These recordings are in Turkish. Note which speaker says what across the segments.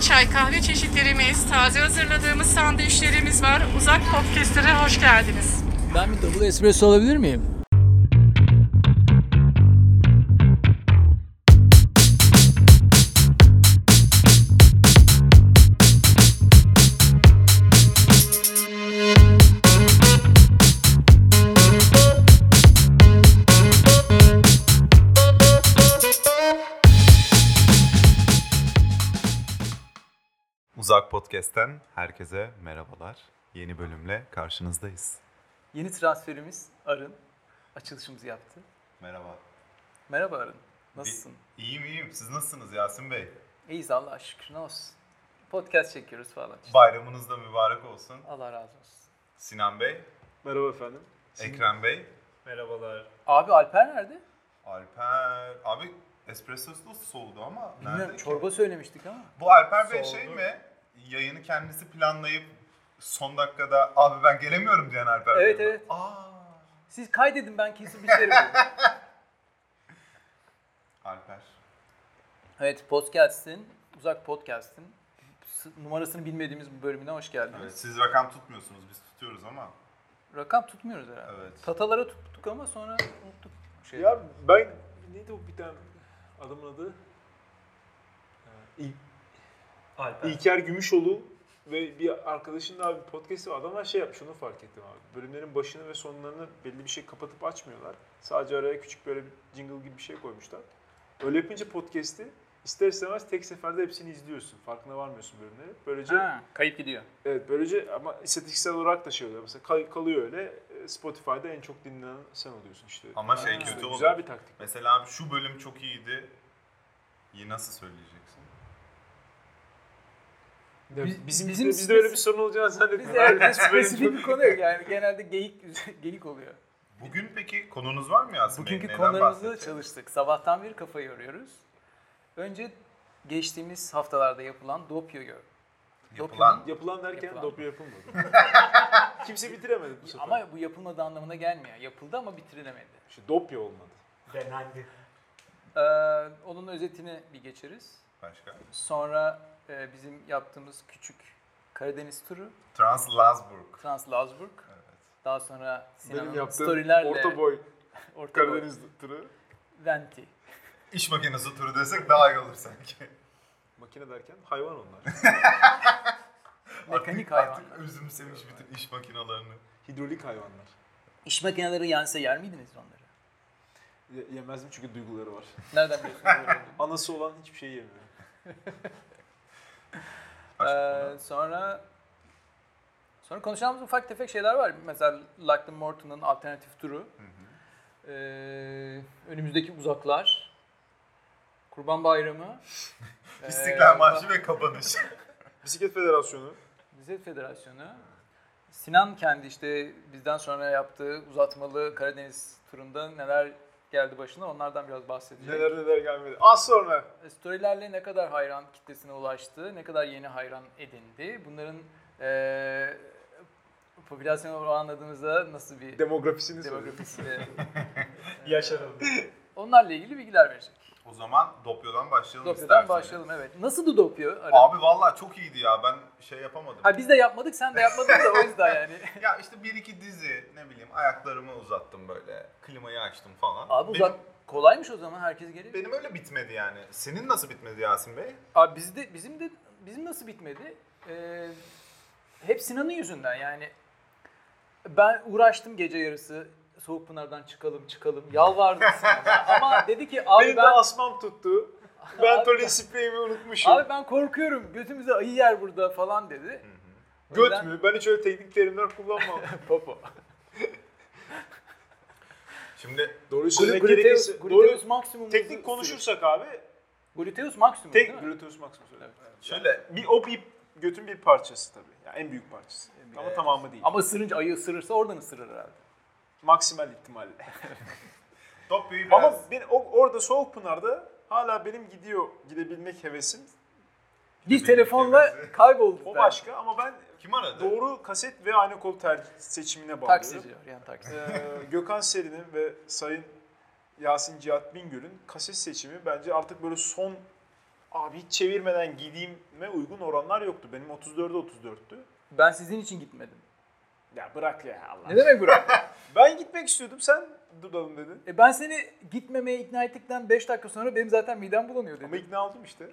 Speaker 1: çay kahve çeşitlerimiz, taze hazırladığımız sandviçlerimiz var. Uzak Podcast'lere hoş geldiniz.
Speaker 2: Ben bir double espresso alabilir miyim?
Speaker 3: Uzak Podcast'ten herkese merhabalar. Yeni bölümle karşınızdayız.
Speaker 4: Yeni transferimiz Arın açılışımızı yaptı.
Speaker 3: Merhaba.
Speaker 4: Merhaba Arın. Nasılsın?
Speaker 3: İyiyim iyiyim. Siz nasılsınız Yasin Bey?
Speaker 4: İyiyiz Allah'a şükür. Ne olsun? Podcast çekiyoruz falan. işte.
Speaker 3: Bayramınız da mübarek olsun.
Speaker 4: Allah razı olsun.
Speaker 3: Sinan Bey,
Speaker 5: Merhaba efendim.
Speaker 3: Ekrem Bey,
Speaker 5: Merhabalar.
Speaker 4: Abi Alper nerede?
Speaker 3: Alper... Abi espressosu soğudu ama nerede
Speaker 4: Bilmiyorum.
Speaker 3: ki?
Speaker 4: Çorba söylemiştik ama.
Speaker 3: Bu Alper Bey
Speaker 5: Soğudu.
Speaker 3: şey mi? Yayını kendisi planlayıp son dakikada abi ben gelemiyorum diyen Alper Bey
Speaker 4: Evet,
Speaker 3: mi?
Speaker 4: evet.
Speaker 3: Aa,
Speaker 4: Siz kaydedin ben kesin bir şey dedim.
Speaker 3: Alper.
Speaker 4: Evet podcast'in, uzak podcast'in s- numarasını bilmediğimiz bu bölümüne hoş geldiniz.
Speaker 3: Evet, siz rakam tutmuyorsunuz biz tutuyoruz ama.
Speaker 4: Rakam tutmuyoruz herhalde.
Speaker 3: Evet.
Speaker 4: Tatalara tuttuk ama sonra unuttuk. Şey.
Speaker 5: Ya ben neydi o bir tane adamın adı? Ee, İl- İlker Gümüşoğlu ve bir arkadaşın daha bir podcast'i var. Adamlar şey yapmış onu fark ettim abi. Bölümlerin başını ve sonlarını belli bir şey kapatıp açmıyorlar. Sadece araya küçük böyle bir jingle gibi bir şey koymuşlar. Öyle yapınca podcast'i ister istemez tek seferde hepsini izliyorsun. Farkına varmıyorsun bölümleri. Böylece
Speaker 4: Ha, kayıp gidiyor.
Speaker 5: Evet böylece ama istatistiksel olarak da şey oluyor. Mesela kal- kalıyor öyle e, Spotify'da en çok dinlenen sen oluyorsun işte.
Speaker 3: Ama şey
Speaker 5: Aa,
Speaker 3: kötü
Speaker 5: güzel
Speaker 3: olur.
Speaker 5: bir taktik.
Speaker 3: Mesela abi şu bölüm çok iyiydi. İyi nasıl söyleyeceksin?
Speaker 5: Ya
Speaker 4: Biz-
Speaker 5: bizim,
Speaker 4: bizim
Speaker 5: bizde, bizde öyle bir sorun olacağını
Speaker 4: Biz
Speaker 5: zannetmiyorum.
Speaker 4: evde
Speaker 5: Herkes böyle
Speaker 4: spesifik bir konu yok yani. Genelde geyik geyik oluyor.
Speaker 3: Bugün peki konunuz var mı Yasemin?
Speaker 4: Bugünkü
Speaker 3: Neden
Speaker 4: konularımızı
Speaker 3: bahsedeceğiz?
Speaker 4: çalıştık. Sabahtan beri kafa yoruyoruz. Önce geçtiğimiz haftalarda yapılan Dopio'yu.
Speaker 3: Yapılan.
Speaker 5: çok- Yapılan derken
Speaker 4: Yapılan.
Speaker 5: dopya yapılmadı. Kimse bitiremedi bu sefer. Ama
Speaker 4: Ama bu yapılmadı anlamına gelmiyor. Yapıldı ama bitirilemedi.
Speaker 5: işte dopya olmadı.
Speaker 4: Ee, onun özetini bir geçeriz.
Speaker 3: Başka?
Speaker 4: Sonra e, bizim yaptığımız küçük Karadeniz turu.
Speaker 3: Trans Lazburg.
Speaker 4: Trans Lazburg. Daha sonra
Speaker 5: Benim
Speaker 4: Sinan'ın
Speaker 5: yaptığım
Speaker 4: storylerle
Speaker 5: orta boy
Speaker 4: Orta boy.
Speaker 5: Karadeniz tırı.
Speaker 4: Venti.
Speaker 3: İş makinesi turu desek daha iyi olur sanki.
Speaker 5: Makine derken hayvan onlar.
Speaker 3: Artık-
Speaker 4: Mekanik hayvan.
Speaker 3: Artık özümsemiş bütün iş makinalarını.
Speaker 5: Hidrolik hayvanlar.
Speaker 4: İş makineleri yense yer miydiniz onları?
Speaker 5: Ye- yemez mi çünkü duyguları var.
Speaker 4: Nereden biliyorsunuz?
Speaker 5: Anası olan hiçbir şey yemiyor.
Speaker 3: Başka
Speaker 4: Ee,
Speaker 3: konu?
Speaker 4: sonra sonra konuşacağımız ufak tefek şeyler var. Mesela Lockton Morton'un alternatif turu. Ee, önümüzdeki uzaklar. Kurban Bayramı.
Speaker 3: İstiklal
Speaker 4: ee,
Speaker 3: Marşı ve kapanış.
Speaker 5: Bisiklet Federasyonu.
Speaker 4: Bisiklet Federasyonu. Sinan kendi işte bizden sonra yaptığı uzatmalı Karadeniz turunda neler geldi başına onlardan biraz bahsedeceğiz.
Speaker 5: Neler neler gelmedi. Az sonra.
Speaker 4: E, Storylerle ne kadar hayran kitlesine ulaştı, ne kadar yeni hayran edindi. Bunların e, popülasyon oranladığımızda nasıl bir
Speaker 5: Demografisini soruyor.
Speaker 4: demografisi ve
Speaker 5: Yaş aralığı.
Speaker 4: onlarla ilgili bilgiler verecek.
Speaker 3: o zaman Dopyo'dan başlayalım
Speaker 4: Dopyo'dan
Speaker 3: isterseniz.
Speaker 4: başlayalım evet. Nasıldı Dopyo? Ara-
Speaker 3: Abi vallahi çok iyiydi ya ben şey yapamadım.
Speaker 4: Ha biz de yapmadık, sen de yapmadın da o yüzden yani.
Speaker 3: Ya işte bir iki dizi ne bileyim ayaklarımı uzattım böyle klimayı açtım falan.
Speaker 4: Abi
Speaker 3: Benim-
Speaker 4: uzak kolaymış o zaman herkes geliyor.
Speaker 3: Benim öyle bitmedi yani. Senin nasıl bitmedi Yasin Bey?
Speaker 4: Abi bizde bizim de bizim nasıl bitmedi? Ee, hep Sinan'ın yüzünden yani. Ben uğraştım gece yarısı. Soğukpınar'dan çıkalım çıkalım. Yalvardım Sinan'a. Ama dedi ki abi
Speaker 5: Benim
Speaker 4: ben,
Speaker 5: de asmam tuttu. Ben
Speaker 4: Abi-
Speaker 5: tolin spreyimi unutmuşum.
Speaker 4: abi ben korkuyorum. Götümüze ayı yer burada falan dedi. O
Speaker 5: Göt
Speaker 4: yüzden-
Speaker 5: mü? Ben hiç öyle teknik terimler kullanmam.
Speaker 4: Popo.
Speaker 3: Şimdi
Speaker 5: Doğru söylemek
Speaker 4: Gluteus,
Speaker 5: gerekirse. Doğru
Speaker 4: gluteus maksimum.
Speaker 5: teknik konuşursak abi
Speaker 4: Gluteus maksimum.
Speaker 5: tek
Speaker 4: değil mi?
Speaker 5: gluteus maksimum söyle.
Speaker 3: şöyle
Speaker 5: Bir o bir götün bir parçası tabii. Yani en büyük parçası. Ama
Speaker 3: Evet.
Speaker 5: tamamı değil.
Speaker 4: Ama ısırınca ayı ısırırsa oradan ısırır herhalde.
Speaker 5: maksimal ihtimalle.
Speaker 3: Dopyo'yu biraz...
Speaker 5: Ama ben o, orada Soğukpınar'da hala benim gidiyor gidebilmek hevesim.
Speaker 4: Bir telefonla kayboldu.
Speaker 5: O
Speaker 4: ben.
Speaker 5: başka ama ben
Speaker 3: Kim aradı?
Speaker 5: doğru kaset ve aynı kol tercih seçimine bağlıyorum.
Speaker 4: Taksi diyor yani taksi.
Speaker 5: Ee, Gökhan Serin'in ve Sayın Yasin Cihat Bingöl'ün kaset seçimi bence artık böyle son Abi hiç çevirmeden gideyime uygun oranlar yoktu. Benim 34'e 34'tü.
Speaker 4: Ben sizin için gitmedim.
Speaker 5: Ya bırak ya Allah.
Speaker 4: Ne demek Burak?
Speaker 5: Ben gitmek istiyordum sen duralım dedin.
Speaker 4: E ben seni gitmemeye ikna ettikten 5 dakika sonra benim zaten midem bulanıyor
Speaker 5: Ama
Speaker 4: dedim.
Speaker 5: ikna oldum işte.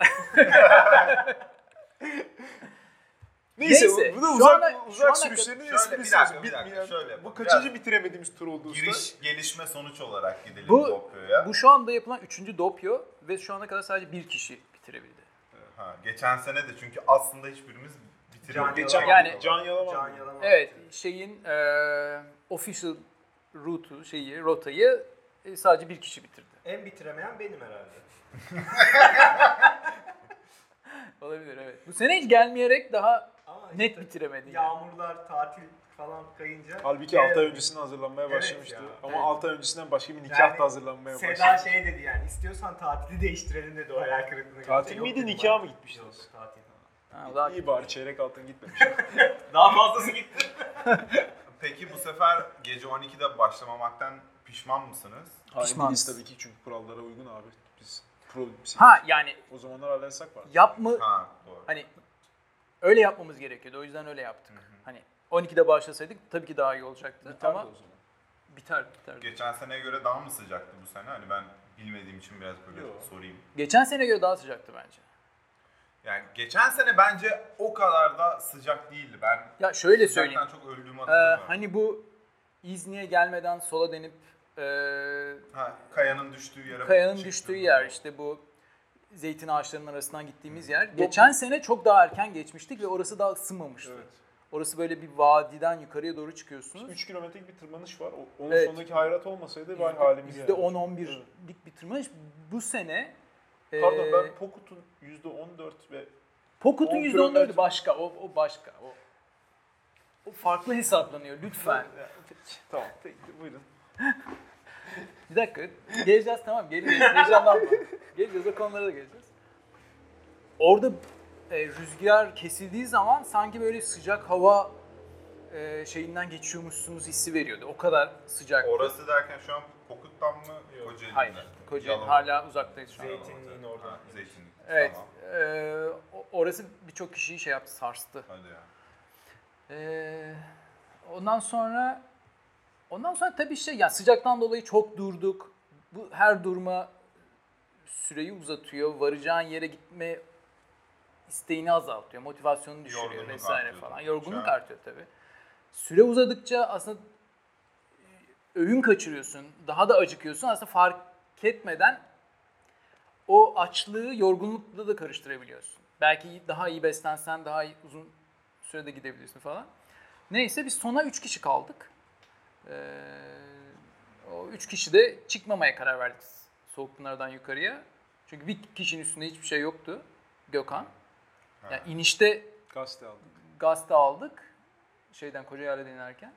Speaker 4: Neyse,
Speaker 5: Neyse,
Speaker 4: şu
Speaker 5: bu da
Speaker 4: ana-
Speaker 5: uzak,
Speaker 4: şu ana-
Speaker 5: uzak sürüşlerini
Speaker 3: Şöyle, bir
Speaker 5: esprisi
Speaker 3: dakika,
Speaker 5: olsun.
Speaker 3: bir dakika,
Speaker 5: Bitmiyor.
Speaker 3: şöyle yapalım.
Speaker 5: Bu kaçıncı bitiremediğimiz tur oldu usta?
Speaker 3: Giriş, gelişme, sonuç olarak gidelim
Speaker 4: Bu-
Speaker 3: bu, Tokyo'ya.
Speaker 4: Bu şu anda yapılan 3. dopyo ve şu ana kadar sadece bir kişi bitirebildi.
Speaker 3: Ha, geçen sene de çünkü aslında hiçbirimiz bitiremedik.
Speaker 5: Geçen
Speaker 4: Yani-
Speaker 5: Can Yalaman.
Speaker 6: Can Yalaman.
Speaker 4: Evet şeyin e, official route'u şeyi rotayı e, sadece bir kişi bitirdi.
Speaker 6: En bitiremeyen benim herhalde.
Speaker 4: Olabilir evet. Bu sene hiç gelmeyerek daha
Speaker 6: Ama
Speaker 4: net
Speaker 6: işte
Speaker 4: bitiremedi. yani.
Speaker 6: Yağmurlar, tatil falan kayınca.
Speaker 5: Halbuki 6 ay öncesinden hazırlanmaya
Speaker 6: Evet
Speaker 5: başlamıştı.
Speaker 6: ya.
Speaker 5: Ama
Speaker 4: Evet.
Speaker 5: 6 ay öncesinden başka bir nikah
Speaker 6: Yani
Speaker 5: da hazırlanmaya
Speaker 6: Seda
Speaker 5: başladı.
Speaker 6: şey dedi yani istiyorsan tatili değiştirelim dedi o hayal kırıklığına. gitti.
Speaker 5: Tatil
Speaker 6: Yok
Speaker 5: miydi,
Speaker 6: dedim
Speaker 5: nikaha
Speaker 6: ben.
Speaker 5: mı gitmiştiniz?
Speaker 6: Yok, tatil.
Speaker 4: Ha, daha-
Speaker 5: İyi bari çeyrek altın gitmemiş.
Speaker 6: Daha fazlası gitti.
Speaker 3: Peki bu sefer gece 12'de başlamamaktan pişman mısınız?
Speaker 5: Hayır
Speaker 4: Pişmanız.
Speaker 5: değiliz tabii ki çünkü kurallara uygun abi. Biz pro biz-
Speaker 4: Ha yani
Speaker 5: O zamanlar alırsak var.
Speaker 4: yapma
Speaker 3: Ha, doğru.
Speaker 4: hani öyle yapmamız gerekiyordu. O yüzden öyle yaptık. Hani 12'de başlasaydık tabii ki daha iyi olacaktı
Speaker 5: Biterdi
Speaker 4: ama
Speaker 5: o zaman.
Speaker 4: biter biter.
Speaker 3: Geçen seneye göre daha mı sıcaktı bu sene? Hani ben bilmediğim için biraz böyle
Speaker 5: Yok.
Speaker 3: sorayım.
Speaker 4: Geçen sene göre daha sıcaktı bence.
Speaker 3: Yani geçen sene bence o kadar da sıcak değildi. Ben
Speaker 4: Ya şöyle şey söyleyeyim.
Speaker 3: sıcaktan çok öldüğümü
Speaker 4: Ee,
Speaker 3: hatırlıyorum.
Speaker 4: hani bu İzni'ye gelmeden sola denip e,
Speaker 3: ha, kayanın düştüğü yere
Speaker 4: kayanın
Speaker 5: şey
Speaker 3: çıktığım
Speaker 4: düştüğü
Speaker 3: zaman.
Speaker 4: yer işte bu zeytin ağaçlarının arasından gittiğimiz yer. Geçen sene çok daha erken geçmiştik ve orası daha ısınmamıştı.
Speaker 5: Evet.
Speaker 4: Orası böyle bir vadiden yukarıya doğru çıkıyorsunuz.
Speaker 5: 3 kilometrelik bir tırmanış var. O- Onun
Speaker 4: Evet.
Speaker 5: sonundaki hayrat olmasaydı vay şey halimiz yani.
Speaker 4: %10-11'lik bir tırmanış. Bu sene e,
Speaker 5: Pardon ben Pokut'un %14 ve
Speaker 4: Pocket'un
Speaker 5: 10
Speaker 4: %14'ü
Speaker 5: kilometre-
Speaker 4: başka. O, o başka. O, o farklı hesaplanıyor lütfen.
Speaker 5: Tamam. peki, Buyurun.
Speaker 4: Bir dakika. Geleceğiz tamam. Geleceğiz. Heyecanlanma. geleceğiz. O konulara da geleceğiz. Orada e, rüzgar kesildiği zaman sanki böyle sıcak hava e, şeyinden geçiyormuşsunuz hissi veriyordu. O kadar sıcak.
Speaker 3: Orası derken şu an Pokut'tan mı Kocaeli'den?
Speaker 4: Hayır.
Speaker 3: mi?
Speaker 4: Kocaeli
Speaker 3: Yalova.
Speaker 4: hala uzaktayız şu an.
Speaker 3: Yalova.
Speaker 6: Zeytinliğin orada.
Speaker 3: Ha, Zeytinlik.
Speaker 4: Evet.
Speaker 3: Tamam.
Speaker 4: e, o- orası birçok kişiyi şey yaptı, sarstı.
Speaker 3: Hadi ya.
Speaker 4: Ee, ondan sonra ondan sonra tabii şey yani sıcaktan dolayı çok durduk. Bu her durma süreyi uzatıyor. Varacağın yere gitme isteğini azaltıyor. Motivasyonunu düşürüyor
Speaker 3: Yorgunluk
Speaker 4: vesaire
Speaker 3: artıyor
Speaker 4: falan.
Speaker 3: tabii.
Speaker 4: Yorgunluk
Speaker 3: Şu an-
Speaker 4: artıyor tabii. Süre uzadıkça aslında e, öğün kaçırıyorsun. Daha da acıkıyorsun. Aslında fark etmeden o açlığı yorgunlukla da karıştırabiliyorsun. Belki daha iyi beslensen daha iyi- uzun sürede gidebilirsin falan. Neyse biz sona 3 kişi kaldık. Ee, o 3 kişi de çıkmamaya karar verdik Soğukpınar'dan yukarıya. Çünkü bir kişinin üstünde hiçbir şey yoktu. Gökhan. Yani inişte
Speaker 5: Gazete aldım.
Speaker 4: gazete aldık. Şeyden Kocaeli'den inerken.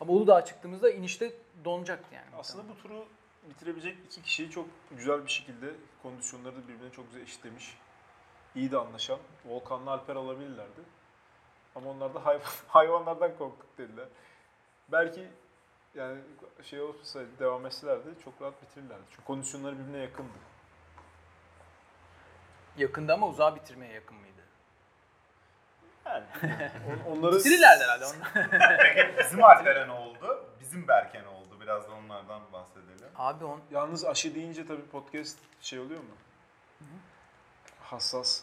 Speaker 4: Ama Uludağ'a çıktığımızda inişte donacaktı yani.
Speaker 5: Aslında bu turu bitirebilecek iki kişiyi çok güzel bir şekilde kondisyonları da birbirine çok güzel eşitlemiş. İyi de anlaşan. Volkan'la Alper alabilirlerdi. Ama onlar da hayvan, hayvanlardan korktuk dediler. Belki yani şey olsaydı devam etselerdi çok rahat bitirirlerdi. Çünkü kondisyonları birbirine yakındı.
Speaker 4: Yakında ama uzağa bitirmeye yakın mıydı?
Speaker 5: Yani on- onları
Speaker 4: Bitirirlerdi herhalde. Onlar.
Speaker 3: Peki bizim Alper'e ne oldu? Bizim Berke ne oldu? Biraz da onlardan bahsedelim.
Speaker 4: Abi on,
Speaker 5: Yalnız aşı deyince tabii podcast şey oluyor mu? Hassas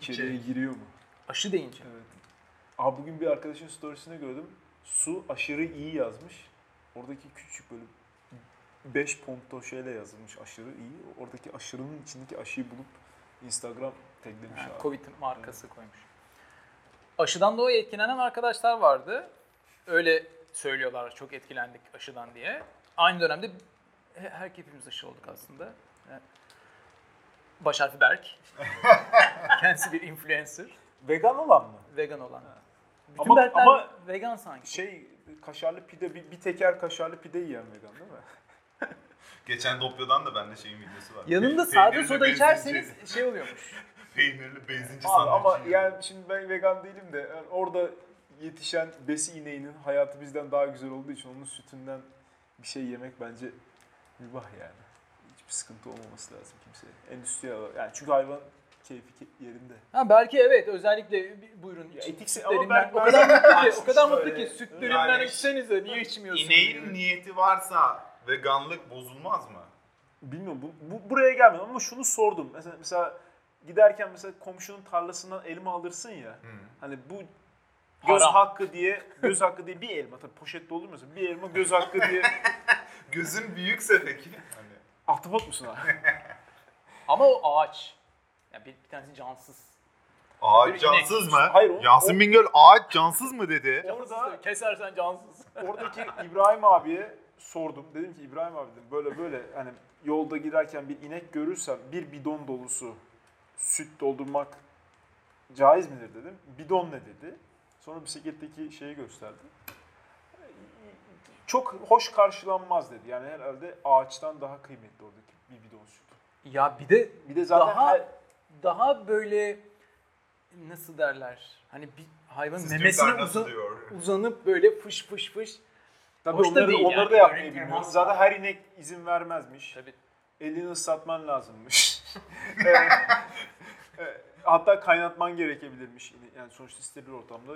Speaker 5: içeriye giriyor mu?
Speaker 4: aşı deyince.
Speaker 5: Evet. Aa, bugün bir arkadaşın storiesini gördüm. Su aşırı iyi yazmış. Oradaki küçük böyle 5 ponto şeyle yazılmış aşırı iyi. Oradaki aşırının içindeki aşıyı bulup Instagram taglemiş
Speaker 4: Yani
Speaker 5: abi.
Speaker 4: Covid markası koymuş. Aşıdan dolayı etkilenen arkadaşlar vardı. Öyle söylüyorlar çok etkilendik aşıdan diye. Aynı dönemde he- her hepimiz aşı olduk aslında. Yani Baş harfi Berk. Kendisi bir influencer.
Speaker 5: Vegan olan mı?
Speaker 4: Vegan olan. Bütün
Speaker 5: Ama-
Speaker 4: Berkler
Speaker 5: ama-
Speaker 4: vegan sanki.
Speaker 5: Şey kaşarlı pide bir, bir teker kaşarlı pide yiyen vegan değil mi?
Speaker 3: Geçen Dopyo'dan da bende şeyin videosu var.
Speaker 4: Yanında
Speaker 3: Pe-
Speaker 4: sade
Speaker 3: peynirli
Speaker 4: soda
Speaker 3: benzinci-
Speaker 4: içerseniz şey oluyormuş.
Speaker 3: Peynirli benzinci
Speaker 5: Abi
Speaker 3: sandviçi.
Speaker 5: ama yani şimdi ben vegan değilim de yani orada yetişen besi ineğinin hayatı bizden daha güzel olduğu için onun sütünden bir şey yemek bence mübah yani. Hiçbir sıkıntı olmaması lazım kimseye. Endüstriyel olarak. Yani çünkü hayvan keyfi ke- yerinde.
Speaker 4: Ha belki evet özellikle bir- buyurun
Speaker 5: Ya
Speaker 4: için.
Speaker 5: etiksin ama
Speaker 4: Sütlerinden
Speaker 5: ben-
Speaker 4: o kadar mutlu ki, o kadar
Speaker 5: Böyle-
Speaker 4: mutlu ki sütlerinden
Speaker 3: Yani-
Speaker 4: içsenize niye içmiyorsunuz?
Speaker 3: İneğin niyeti varsa veganlık bozulmaz mı?
Speaker 5: Bilmiyorum bu, bu- buraya gelmedim ama şunu sordum. Mesela, mesela giderken mesela komşunun tarlasından elma alırsın ya. Hani bu göz
Speaker 4: Haram.
Speaker 5: hakkı diye göz hakkı diye bir elma tabii poşette olur mu? Bir elma göz hakkı diye
Speaker 3: Gözün büyükse peki. Hani
Speaker 5: ahtapot musun abi?
Speaker 4: Ama o ağaç. Ya bir, bir tanesi cansız.
Speaker 3: ağaç cansız mı?
Speaker 5: Hayır, o-
Speaker 3: Yasin Bingöl ağaç cansız mı dedi?
Speaker 5: Orada
Speaker 4: kesersen cansız.
Speaker 5: oradaki İbrahim abiye sordum. Dedim ki İbrahim abi dedim, böyle böyle hani yolda giderken bir inek görürsem bir bidon dolusu süt doldurmak caiz midir dedim. Bidon ne dedi. Sonra bisikletteki şeyi gösterdi. Çok hoş karşılanmaz dedi. Yani herhalde ağaçtan daha kıymetli oradaki bir bidon süt.
Speaker 4: Ya bir de
Speaker 5: Bir de zaten
Speaker 4: Daha-
Speaker 5: her-
Speaker 4: daha böyle nasıl derler? Hani bir hayvanın
Speaker 3: Siz
Speaker 4: memesine
Speaker 3: Türkler nasıl
Speaker 4: uzan-
Speaker 3: diyor?
Speaker 4: uzanıp böyle fış fış fış.
Speaker 5: Tabii
Speaker 4: Hoş da
Speaker 5: onları, da
Speaker 4: değil
Speaker 5: onları
Speaker 4: yani.
Speaker 5: da yapmayı
Speaker 6: Örnek
Speaker 5: bilmiyoruz.
Speaker 6: temas
Speaker 5: Zaten
Speaker 6: var.
Speaker 5: her inek izin vermezmiş.
Speaker 4: Tabii.
Speaker 5: Elini ıslatman lazımmış. Evet. Evet. Hatta kaynatman gerekebilirmiş. İne- Yani sonuçta steril ortamda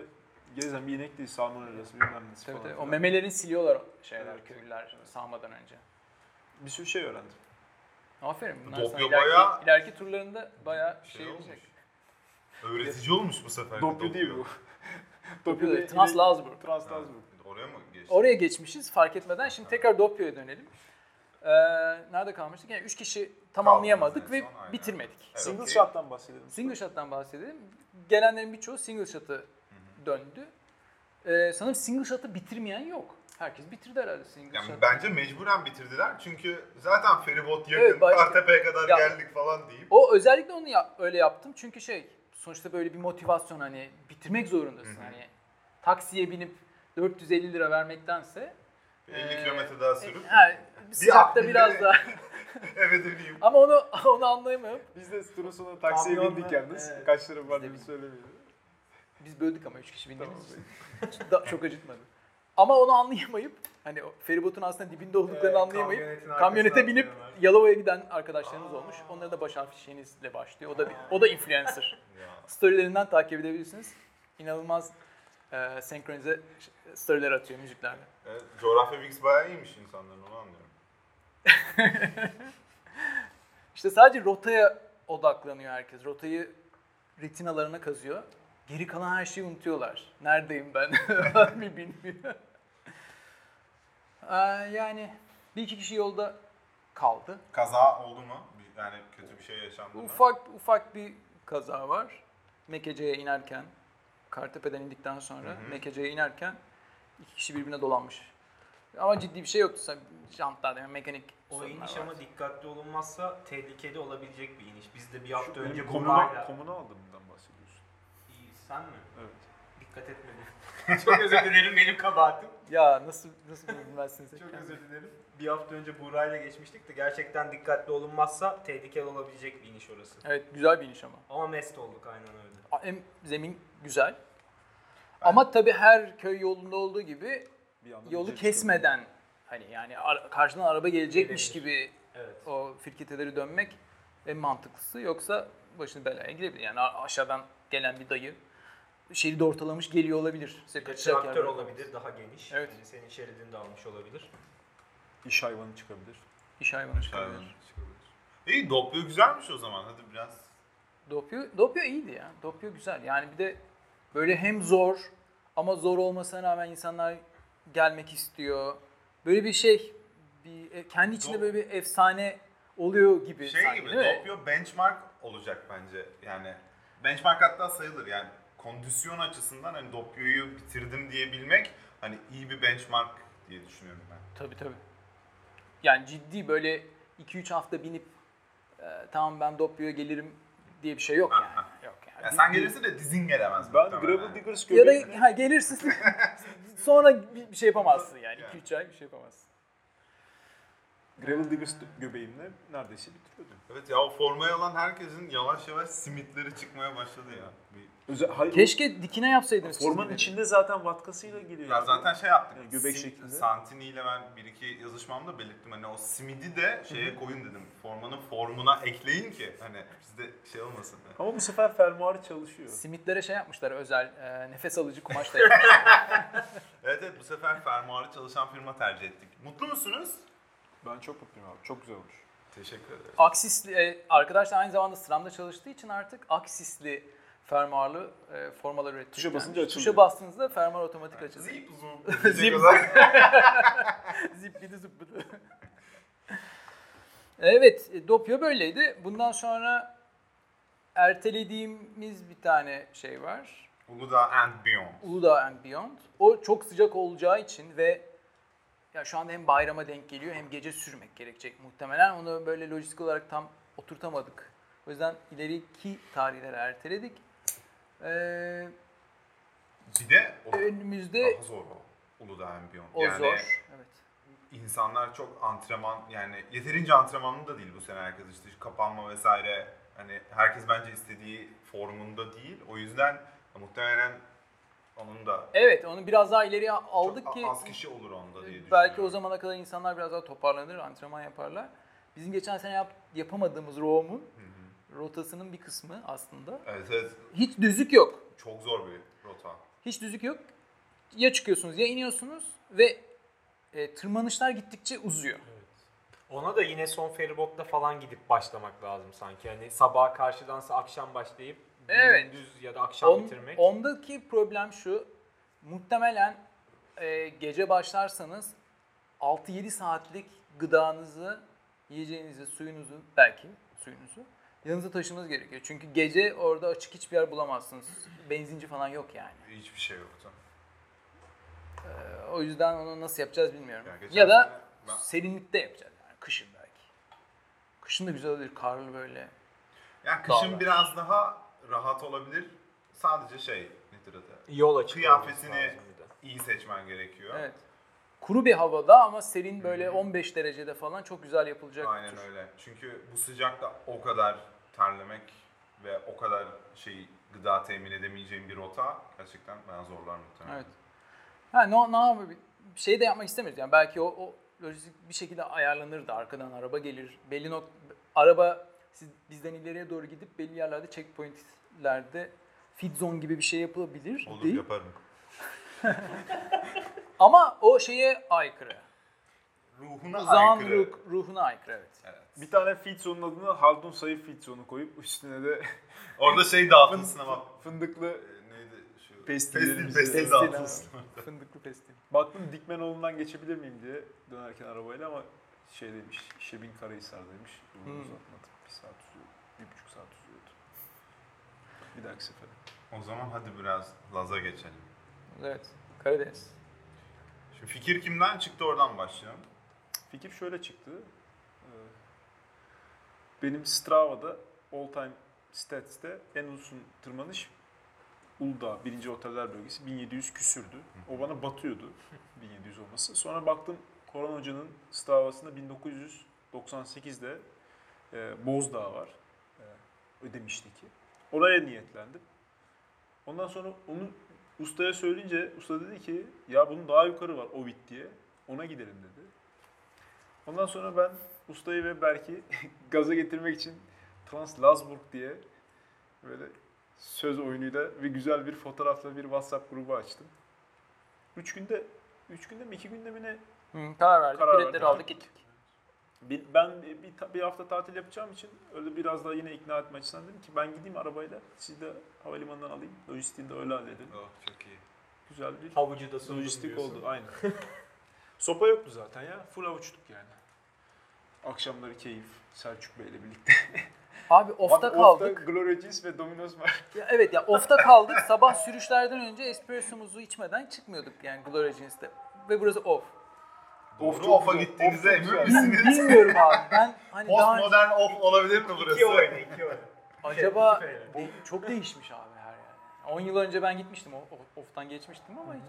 Speaker 5: gezen bir inek değil salmonellası bilmem nesi
Speaker 4: Tabii
Speaker 5: falan.
Speaker 4: tabii. O
Speaker 5: filan.
Speaker 4: memelerini siliyorlar şeyler,
Speaker 5: Evet.
Speaker 4: köylüler sağmadan önce.
Speaker 5: Bir sürü şey öğrendim.
Speaker 4: Aferin. Bunlar
Speaker 3: Dopya
Speaker 4: sana ileriki,
Speaker 3: bayağı-
Speaker 4: ileriki turlarında bayağı şey,
Speaker 3: Şey olmuş.
Speaker 4: olacak.
Speaker 3: Öğretici olmuş bu sefer. de
Speaker 5: Doplu değil bu. Doplu değil.
Speaker 4: Translazburg.
Speaker 5: Trans
Speaker 3: Ha,
Speaker 5: lazım.
Speaker 3: Oraya mı geçti?
Speaker 4: Oraya geçmişiz fark etmeden. Şimdi tekrar Dopyo'ya dönelim. Ee, nerede kalmıştık? Yani üç kişi tamamlayamadık
Speaker 3: Kaldınız en
Speaker 4: ve
Speaker 3: son, aynen.
Speaker 4: bitirmedik.
Speaker 3: Evet,
Speaker 5: Single
Speaker 3: okey.
Speaker 5: shot'tan bahsedelim.
Speaker 4: Single shot'tan bahsedelim. Gelenlerin birçoğu single shot'ı döndü. Ee, sanırım single shot'ı bitirmeyen yok. Herkes bitirdi herhalde single
Speaker 3: Yani
Speaker 4: shot'ı.
Speaker 3: bence mecburen bitirdiler çünkü zaten feribot yakın,
Speaker 4: Evet, başka-
Speaker 3: Kartepe'ye kadar
Speaker 4: Ya-
Speaker 3: geldik falan deyip.
Speaker 4: O özellikle onu ya- öyle yaptım çünkü şey sonuçta böyle bir motivasyon hani bitirmek zorundasın.
Speaker 3: Hı hı.
Speaker 4: Hani taksiye binip 450 lira vermektense
Speaker 3: 50
Speaker 4: Ee,
Speaker 3: kilometre daha
Speaker 4: e,
Speaker 3: sürüp
Speaker 4: ha, sıcakta
Speaker 3: Bir-
Speaker 4: biraz daha
Speaker 3: eve döneyim.
Speaker 4: ama onu onu anlayamıyorum.
Speaker 5: Biz de turun sonunda taksiye
Speaker 6: Kamyonla,
Speaker 5: bindik yalnız.
Speaker 6: evet.
Speaker 5: Kaç lira var
Speaker 4: Biz de
Speaker 5: diye söylemiyorum.
Speaker 4: Biz böldük ama üç kişi bindiğimiz
Speaker 5: Tamam.
Speaker 4: için. Da- çok acıtmadı. Ama onu anlayamayıp hani o feribotun aslında dibinde olduklarını anlayamayıp kamyonete binip Yalova'ya giden arkadaşlarımız olmuş. Onların da baş harfi şeyinizle başlıyor. O da bir- o da influencer.
Speaker 3: Ya.
Speaker 4: Storylerinden takip edebilirsiniz. İnanılmaz e, senkronize ş- storyler atıyor müziklerle.
Speaker 3: Evet, coğrafya bilgisi bayağı iyiymiş insanların onu anlıyorum.
Speaker 4: İşte sadece rotaya odaklanıyor herkes. Rotayı retinalarına kazıyor. Geri kalan her şeyi unutuyorlar. Neredeyim ben? Bir bilmiyor. Ee, yani bir iki kişi yolda kaldı.
Speaker 3: Kaza oldu mu? Bir- Yani kötü bir şey yaşandı mı?
Speaker 4: Ufak ufak bir kaza var. Mekece'ye inerken, Kartepe'den indikten sonra Mekece'ye inerken iki kişi birbirine dolanmış. Ama ciddi bir şey yoktu. Jantlar demek mekanik
Speaker 6: O
Speaker 4: sorunlar
Speaker 6: iniş
Speaker 4: var.
Speaker 6: ama dikkatli olunmazsa tehlikeli olabilecek bir iniş. Biz de bir hafta önce
Speaker 5: Benim
Speaker 6: Komayla...
Speaker 5: komuna, komuna aldığımdan bahsediyorsun.
Speaker 6: İyi, Sen mi?
Speaker 5: Evet.
Speaker 6: Dikkat etmedim. Çok özür dilerim benim kabahatim.
Speaker 4: Ya nasıl nasıl bunu bilmezsiniz?
Speaker 6: Çok özür dilerim. Bir hafta önce Buğra'yla geçmiştik de gerçekten dikkatli olunmazsa tehlikeli olabilecek bir iniş orası.
Speaker 4: Evet güzel bir iniş ama.
Speaker 6: Ama mest olduk aynen öyle.
Speaker 4: Hem zemin güzel. Ama tabii her köy yolunda olduğu gibi
Speaker 5: Bir yandan
Speaker 4: yolu
Speaker 5: diyecektim.
Speaker 4: kesmeden hani yani ara- karşıdan araba gelecekmiş
Speaker 6: Gelebilir.
Speaker 4: gibi
Speaker 6: Evet.
Speaker 4: o firketeleri dönmek en mantıklısı. Yoksa başını belaya girebilir. Yani a- aşağıdan gelen bir dayı şeridi ortalamış geliyor olabilir. Size kaçacak yer
Speaker 6: Traktör
Speaker 4: bırakmaz.
Speaker 6: olabilir daha geniş.
Speaker 4: Evet.
Speaker 6: Yani senin şeridini de almış olabilir.
Speaker 5: İş hayvanı çıkabilir.
Speaker 4: İş hayvanı
Speaker 3: Hayvan
Speaker 4: çıkabilir.
Speaker 3: çıkabilir. İyi Dopyo güzelmiş o zaman hadi biraz.
Speaker 4: Dopyo, Dopyo iyiydi ya. Dopyo güzel. Yani bir de böyle hem zor ama zor olmasına rağmen insanlar gelmek istiyor. Böyle bir şey bir e, kendi içinde
Speaker 3: Dop-
Speaker 4: böyle bir efsane oluyor gibi
Speaker 3: Şey
Speaker 4: sanki
Speaker 3: gibi
Speaker 4: değil mi?
Speaker 3: Dopyo benchmark olacak bence yani. Benchmark hatta sayılır yani kondisyon açısından hani Dopyo'yu bitirdim diyebilmek hani iyi bir benchmark diye düşünüyorum ben.
Speaker 4: Tabii tabii. Yani ciddi böyle 2-3 hafta binip e, tamam ben Dopyo'ya gelirim diye bir şey yok yani. Yok yani.
Speaker 3: Ya sen gelirsin de dizin gelemez.
Speaker 5: Ben
Speaker 3: muhtemelen.
Speaker 5: Gravel Diggers
Speaker 4: ya
Speaker 5: göbeği...
Speaker 4: da ha, gelirsin sonra bir bir şey yapamazsın yani.
Speaker 3: Yani.
Speaker 4: 2-3 ay bir şey yapamazsın.
Speaker 5: Gravel Diggers göbeğimle neredeyse bitiriyordum.
Speaker 3: Evet ya o formaya olan herkesin yavaş yavaş simitleri çıkmaya başladı ya. Bir-
Speaker 5: Özel, hayır,
Speaker 4: Keşke dikine yapsaydınız.
Speaker 5: Formanın
Speaker 4: çizgileri.
Speaker 5: içinde zaten vatkasıyla geliyor.
Speaker 3: Ya zaten şey yaptık.
Speaker 5: Yani E, göbek
Speaker 3: Sim-
Speaker 5: şeklinde.
Speaker 3: Santini ile ben bir iki yazışmamda belirttim. Hani o simidi de şeye koyun dedim. Formanın formuna ekleyin ki hani bizde şey olmasın.
Speaker 5: Ama bu sefer fermuarı çalışıyor.
Speaker 4: Simitlere şey yapmışlar özel e, nefes alıcı kumaş da yapmışlar.
Speaker 3: Evet evet bu sefer fermuarı çalışan firma tercih ettik. Mutlu musunuz?
Speaker 5: Ben çok mutluyum abi. Çok güzel olmuş.
Speaker 3: Teşekkür ederim.
Speaker 4: Aksisli, e, arkadaşlar aynı zamanda sıramda çalıştığı için artık aksisli fermuarlı e, formalar ürettik.
Speaker 5: Tuşa basınca açılıyor.
Speaker 4: Tuşa bastığınızda fermuar otomatik açılıyor.
Speaker 3: Zip zoom.
Speaker 4: Zip
Speaker 3: Zip
Speaker 4: Zippidi zıppidi. evet, e, Dopyo böyleydi. Bundan sonra ertelediğimiz bir tane şey var.
Speaker 3: Uludağ and Beyond.
Speaker 4: Uludağ and Beyond. O çok sıcak olacağı için ve ya şu anda hem bayrama denk geliyor hem gece sürmek gerekecek muhtemelen. Onu böyle lojistik olarak tam oturtamadık. O yüzden ileriki tarihlere erteledik. Ee,
Speaker 3: Bir de o
Speaker 4: önümüzde
Speaker 3: daha zor o. Uludağ and Beyond.
Speaker 4: Ee, o
Speaker 3: yani
Speaker 4: zor. Evet.
Speaker 3: insanlar çok antrenman yani yeterince antrenmanlı da değil bu sene herkes işte kapanma vesaire hani herkes bence istediği formunda değil. O yüzden muhtemelen onun da
Speaker 4: Evet, onu biraz daha ileriye
Speaker 3: çok
Speaker 4: aldık
Speaker 3: a-
Speaker 4: ki
Speaker 3: az kişi olur onda diye düşünüyorum.
Speaker 4: Belki o zamana kadar insanlar biraz daha toparlanır, antrenman yaparlar. Bizim geçen sene yap- yapamadığımız Roam'un rotasının bir kısmı aslında.
Speaker 3: Evet evet
Speaker 4: Hiç düzlük yok.
Speaker 3: çok zor bir rota.
Speaker 4: Hiç düzlük yok. Ya çıkıyorsunuz ya iniyorsunuz ve e, tırmanışlar gittikçe uzuyor.
Speaker 6: Ona da yine son feribotla falan gidip başlamak lazım sanki. Hani sabaha karşıdansa akşam başlayıp
Speaker 4: Evet.
Speaker 6: gündüz ya da akşam
Speaker 4: On-
Speaker 6: bitirmek.
Speaker 4: ondaki problem şu. Muhtemelen e, gece başlarsanız 6-7 saatlik gıdanızı, yiyeceğinizi, suyunuzu belki suyunuzu yanınıza taşımanız gerekiyor. Çünkü gece orada açık hiçbir yer bulamazsınız. Benzinci falan yok yani.
Speaker 3: Hiçbir şey yoktu.
Speaker 4: E, O yüzden onu nasıl yapacağız bilmiyorum.
Speaker 3: Ya geçen
Speaker 4: Ya, da
Speaker 3: sene ben-
Speaker 4: serinlikte yapacağız yani kışın belki. Kışın da güzel olur karlı böyle.
Speaker 3: Yani kışın
Speaker 4: Dağlar.
Speaker 3: biraz daha rahat olabilir. Sadece şey nedir adı?
Speaker 6: Yol açık
Speaker 3: Kıyafetini-
Speaker 6: olması lazım bir de.
Speaker 3: İyi seçmen gerekiyor.
Speaker 4: Evet. Kuru bir havada ama serin böyle 15 derecede falan çok güzel yapılacak bir
Speaker 3: Aynen
Speaker 4: tur.
Speaker 3: öyle. Çünkü bu sıcakta o kadar terlemek ve o kadar şey gıda temin edemeyeceğim bir rota gerçekten bana zorlar muhtemelen.
Speaker 4: Evet. Ha ne ne yapabilir? Bir şey de yapmak istemiyoruz. Yani belki o, o lojistik bir şekilde ayarlanırdı. Arkadan araba gelir. Belli nok araba siz, bizden ileriye doğru gidip belli yerlerde checkpointlerde feed zone gibi bir şey yapılabilir.
Speaker 3: Olur
Speaker 4: değil.
Speaker 3: yaparım.
Speaker 4: Ama o şeye aykırı.
Speaker 3: Ruhuna
Speaker 4: Zan
Speaker 3: aykırı.
Speaker 4: ruh, ruhuna aykırı evet.
Speaker 5: Bir tane Fitzon'un adını Haldun Sayı Fitzon'u koyup üstüne de
Speaker 3: Orada şey dağıtılsın ama.
Speaker 5: fındıklı
Speaker 3: Ee, Neydi şu? Pestil,
Speaker 5: Pestillerimizi-
Speaker 3: pestil
Speaker 5: Pestil,
Speaker 3: dağıtılsın.
Speaker 4: Fındıklı pestil.
Speaker 5: baktım Dikmenoğlu'ndan geçebilir miyim diye dönerken arabayla ama şey demiş Şebin Karahisar'daymış. Yolunu
Speaker 4: Hmm.
Speaker 5: uzatmadım. Bir saat uzuyordu. Bir buçuk saat uzuyordu. Bir dahaki sefere.
Speaker 3: O zaman hadi biraz Laz'a geçelim.
Speaker 4: Evet. Karadeniz.
Speaker 3: Şimdi fikir kimden çıktı oradan başlayalım.
Speaker 5: Fikir şöyle çıktı. Ee, Benim Strava'da all time stats'te en uzun tırmanış Uludağ, birinci oteller bölgesi 1700 küsürdü. O bana batıyordu 1700 olması. Sonra baktım Koran Hoca'nın Strava'sında 1998'de e, Bozdağ var. E, Ödemiş'teki. Oraya niyetlendim. Ondan sonra onu ustaya söyleyince usta dedi ki ya bunun daha yukarı var Ovid diye. Ona gidelim dedi. Ondan sonra ben ustayı ve Berk'i gaza getirmek için Trans Lazburg diye böyle söz oyunuyla ve güzel bir fotoğrafla bir WhatsApp grubu açtım. Üç günde, üç günde mi iki günde mi ne?
Speaker 4: Hı, karar verdik.
Speaker 5: Karar
Speaker 4: Biletleri
Speaker 5: verdik.
Speaker 4: aldık gittik.
Speaker 5: Bir- ben bir, bir ta- bir hafta tatil yapacağım için öyle biraz daha yine ikna etme açısından dedim ki ben gideyim arabayla sizi de havalimanından alayım. Lojistiğini de öyle halledelim.
Speaker 3: Oh, çok iyi.
Speaker 5: Güzel bir
Speaker 6: Havucu da sundum
Speaker 5: Lojistik
Speaker 6: diyorsun.
Speaker 5: oldu aynen. Sopa yoktu zaten ya. Full avuçluk yani. Akşamları keyif Selçuk Bey'le birlikte.
Speaker 4: Abi off'ta kaldık.
Speaker 5: Gloria Jeans ve Domino's var.
Speaker 4: Ya evet ya ofta kaldık. Sabah sürüşlerden önce espressomuzu içmeden çıkmıyorduk yani Gloria Jeans'te. Ve burası off.
Speaker 5: Of,
Speaker 3: Doğru
Speaker 5: çok
Speaker 3: off'a
Speaker 5: güzel.
Speaker 3: gittiğinize
Speaker 5: Of,
Speaker 3: emin
Speaker 5: çok güzel.
Speaker 3: misiniz?
Speaker 4: Bilmiyorum abi. Ben hani daha önce-
Speaker 3: Postmodern off olabilir mi burası?
Speaker 6: İki oyna, iki oyna.
Speaker 4: acaba
Speaker 6: iki feyler.
Speaker 4: de- çok değişmiş abi her yer. 10 yıl önce ben gitmiştim. o- o- Off'tan geçmiştim ama hiç-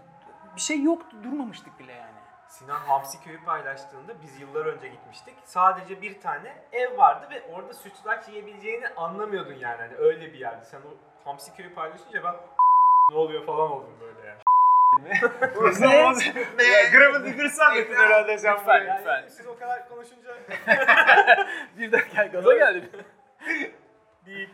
Speaker 4: bir şey yoktu. Durmamıştık bile yani.
Speaker 6: Sinan Hamsiköy'ü paylaştığında biz yıllar önce gitmiştik. Sadece bir tane ev vardı ve orada sütlaç yiyebileceğini anlamıyordun yani. Hani öyle bir yerdi. Sen o Hamsiköy'ü paylaşınca ben ne oluyor falan oldum böyle yani.
Speaker 5: Ne?
Speaker 3: Ne?
Speaker 5: Gramın dıkırsan dedin herhalde sen
Speaker 4: Lütfen,
Speaker 5: buraya.
Speaker 4: lütfen.
Speaker 6: Siz o kadar konuşunca
Speaker 4: Bir dakika gaza geldim.
Speaker 6: değil.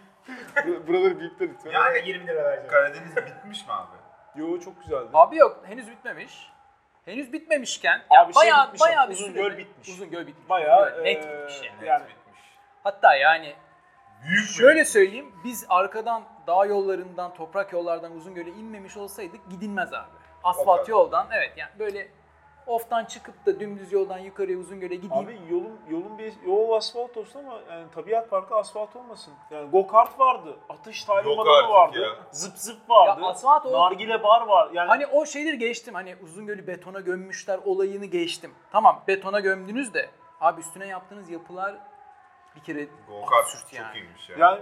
Speaker 5: Buraları bitti lütfen.
Speaker 3: Yani
Speaker 6: 20 lira vereceğim.
Speaker 3: Karadeniz bitmiş mi abi?
Speaker 5: Yo çok güzeldi.
Speaker 4: Abi yok henüz bitmemiş. Henüz bitmemişken ya
Speaker 5: Abi şey
Speaker 4: bayağı
Speaker 5: bitmiş ama
Speaker 4: bayağı bir
Speaker 5: Uzungöl
Speaker 4: sürede-
Speaker 5: bitmiş.
Speaker 4: Uzungöl bitmiş.
Speaker 5: Bayağı,
Speaker 4: Uzungöl net
Speaker 5: eee,
Speaker 4: bitmiş yani.
Speaker 3: Net
Speaker 5: Yani-
Speaker 3: bitmiş.
Speaker 4: Hatta yani
Speaker 3: Büyük mü?
Speaker 4: şöyle söyleyeyim biz arkadan dağ yollarından toprak yollardan Uzungöl'e inmemiş olsaydık gidilmez abi.
Speaker 3: O
Speaker 4: Asfalt
Speaker 3: kadar.
Speaker 4: yoldan evet yani böyle oftan çıkıp da dümdüz yoldan yukarıya Uzungöl'e gideyim.
Speaker 5: Abi yolun yolun bir yol asfalt olsun ama yani tabiat parkı asfalt olmasın. Yani go kart vardı, atış
Speaker 3: Yok
Speaker 5: talimatı
Speaker 3: artık
Speaker 5: vardı,
Speaker 3: ya.
Speaker 5: zıp zıp vardı,
Speaker 4: Ya asfalt o-
Speaker 5: nargile bar var. Yani
Speaker 4: Hani o şeyleri geçtim. Hani Uzungöl'ü betona gömmüşler olayını geçtim. Tamam betona gömdünüz de abi üstüne yaptığınız yapılar bir kere
Speaker 3: Go-kart
Speaker 4: absürt
Speaker 3: çok
Speaker 4: yani.
Speaker 3: iyiymiş ya.
Speaker 5: yani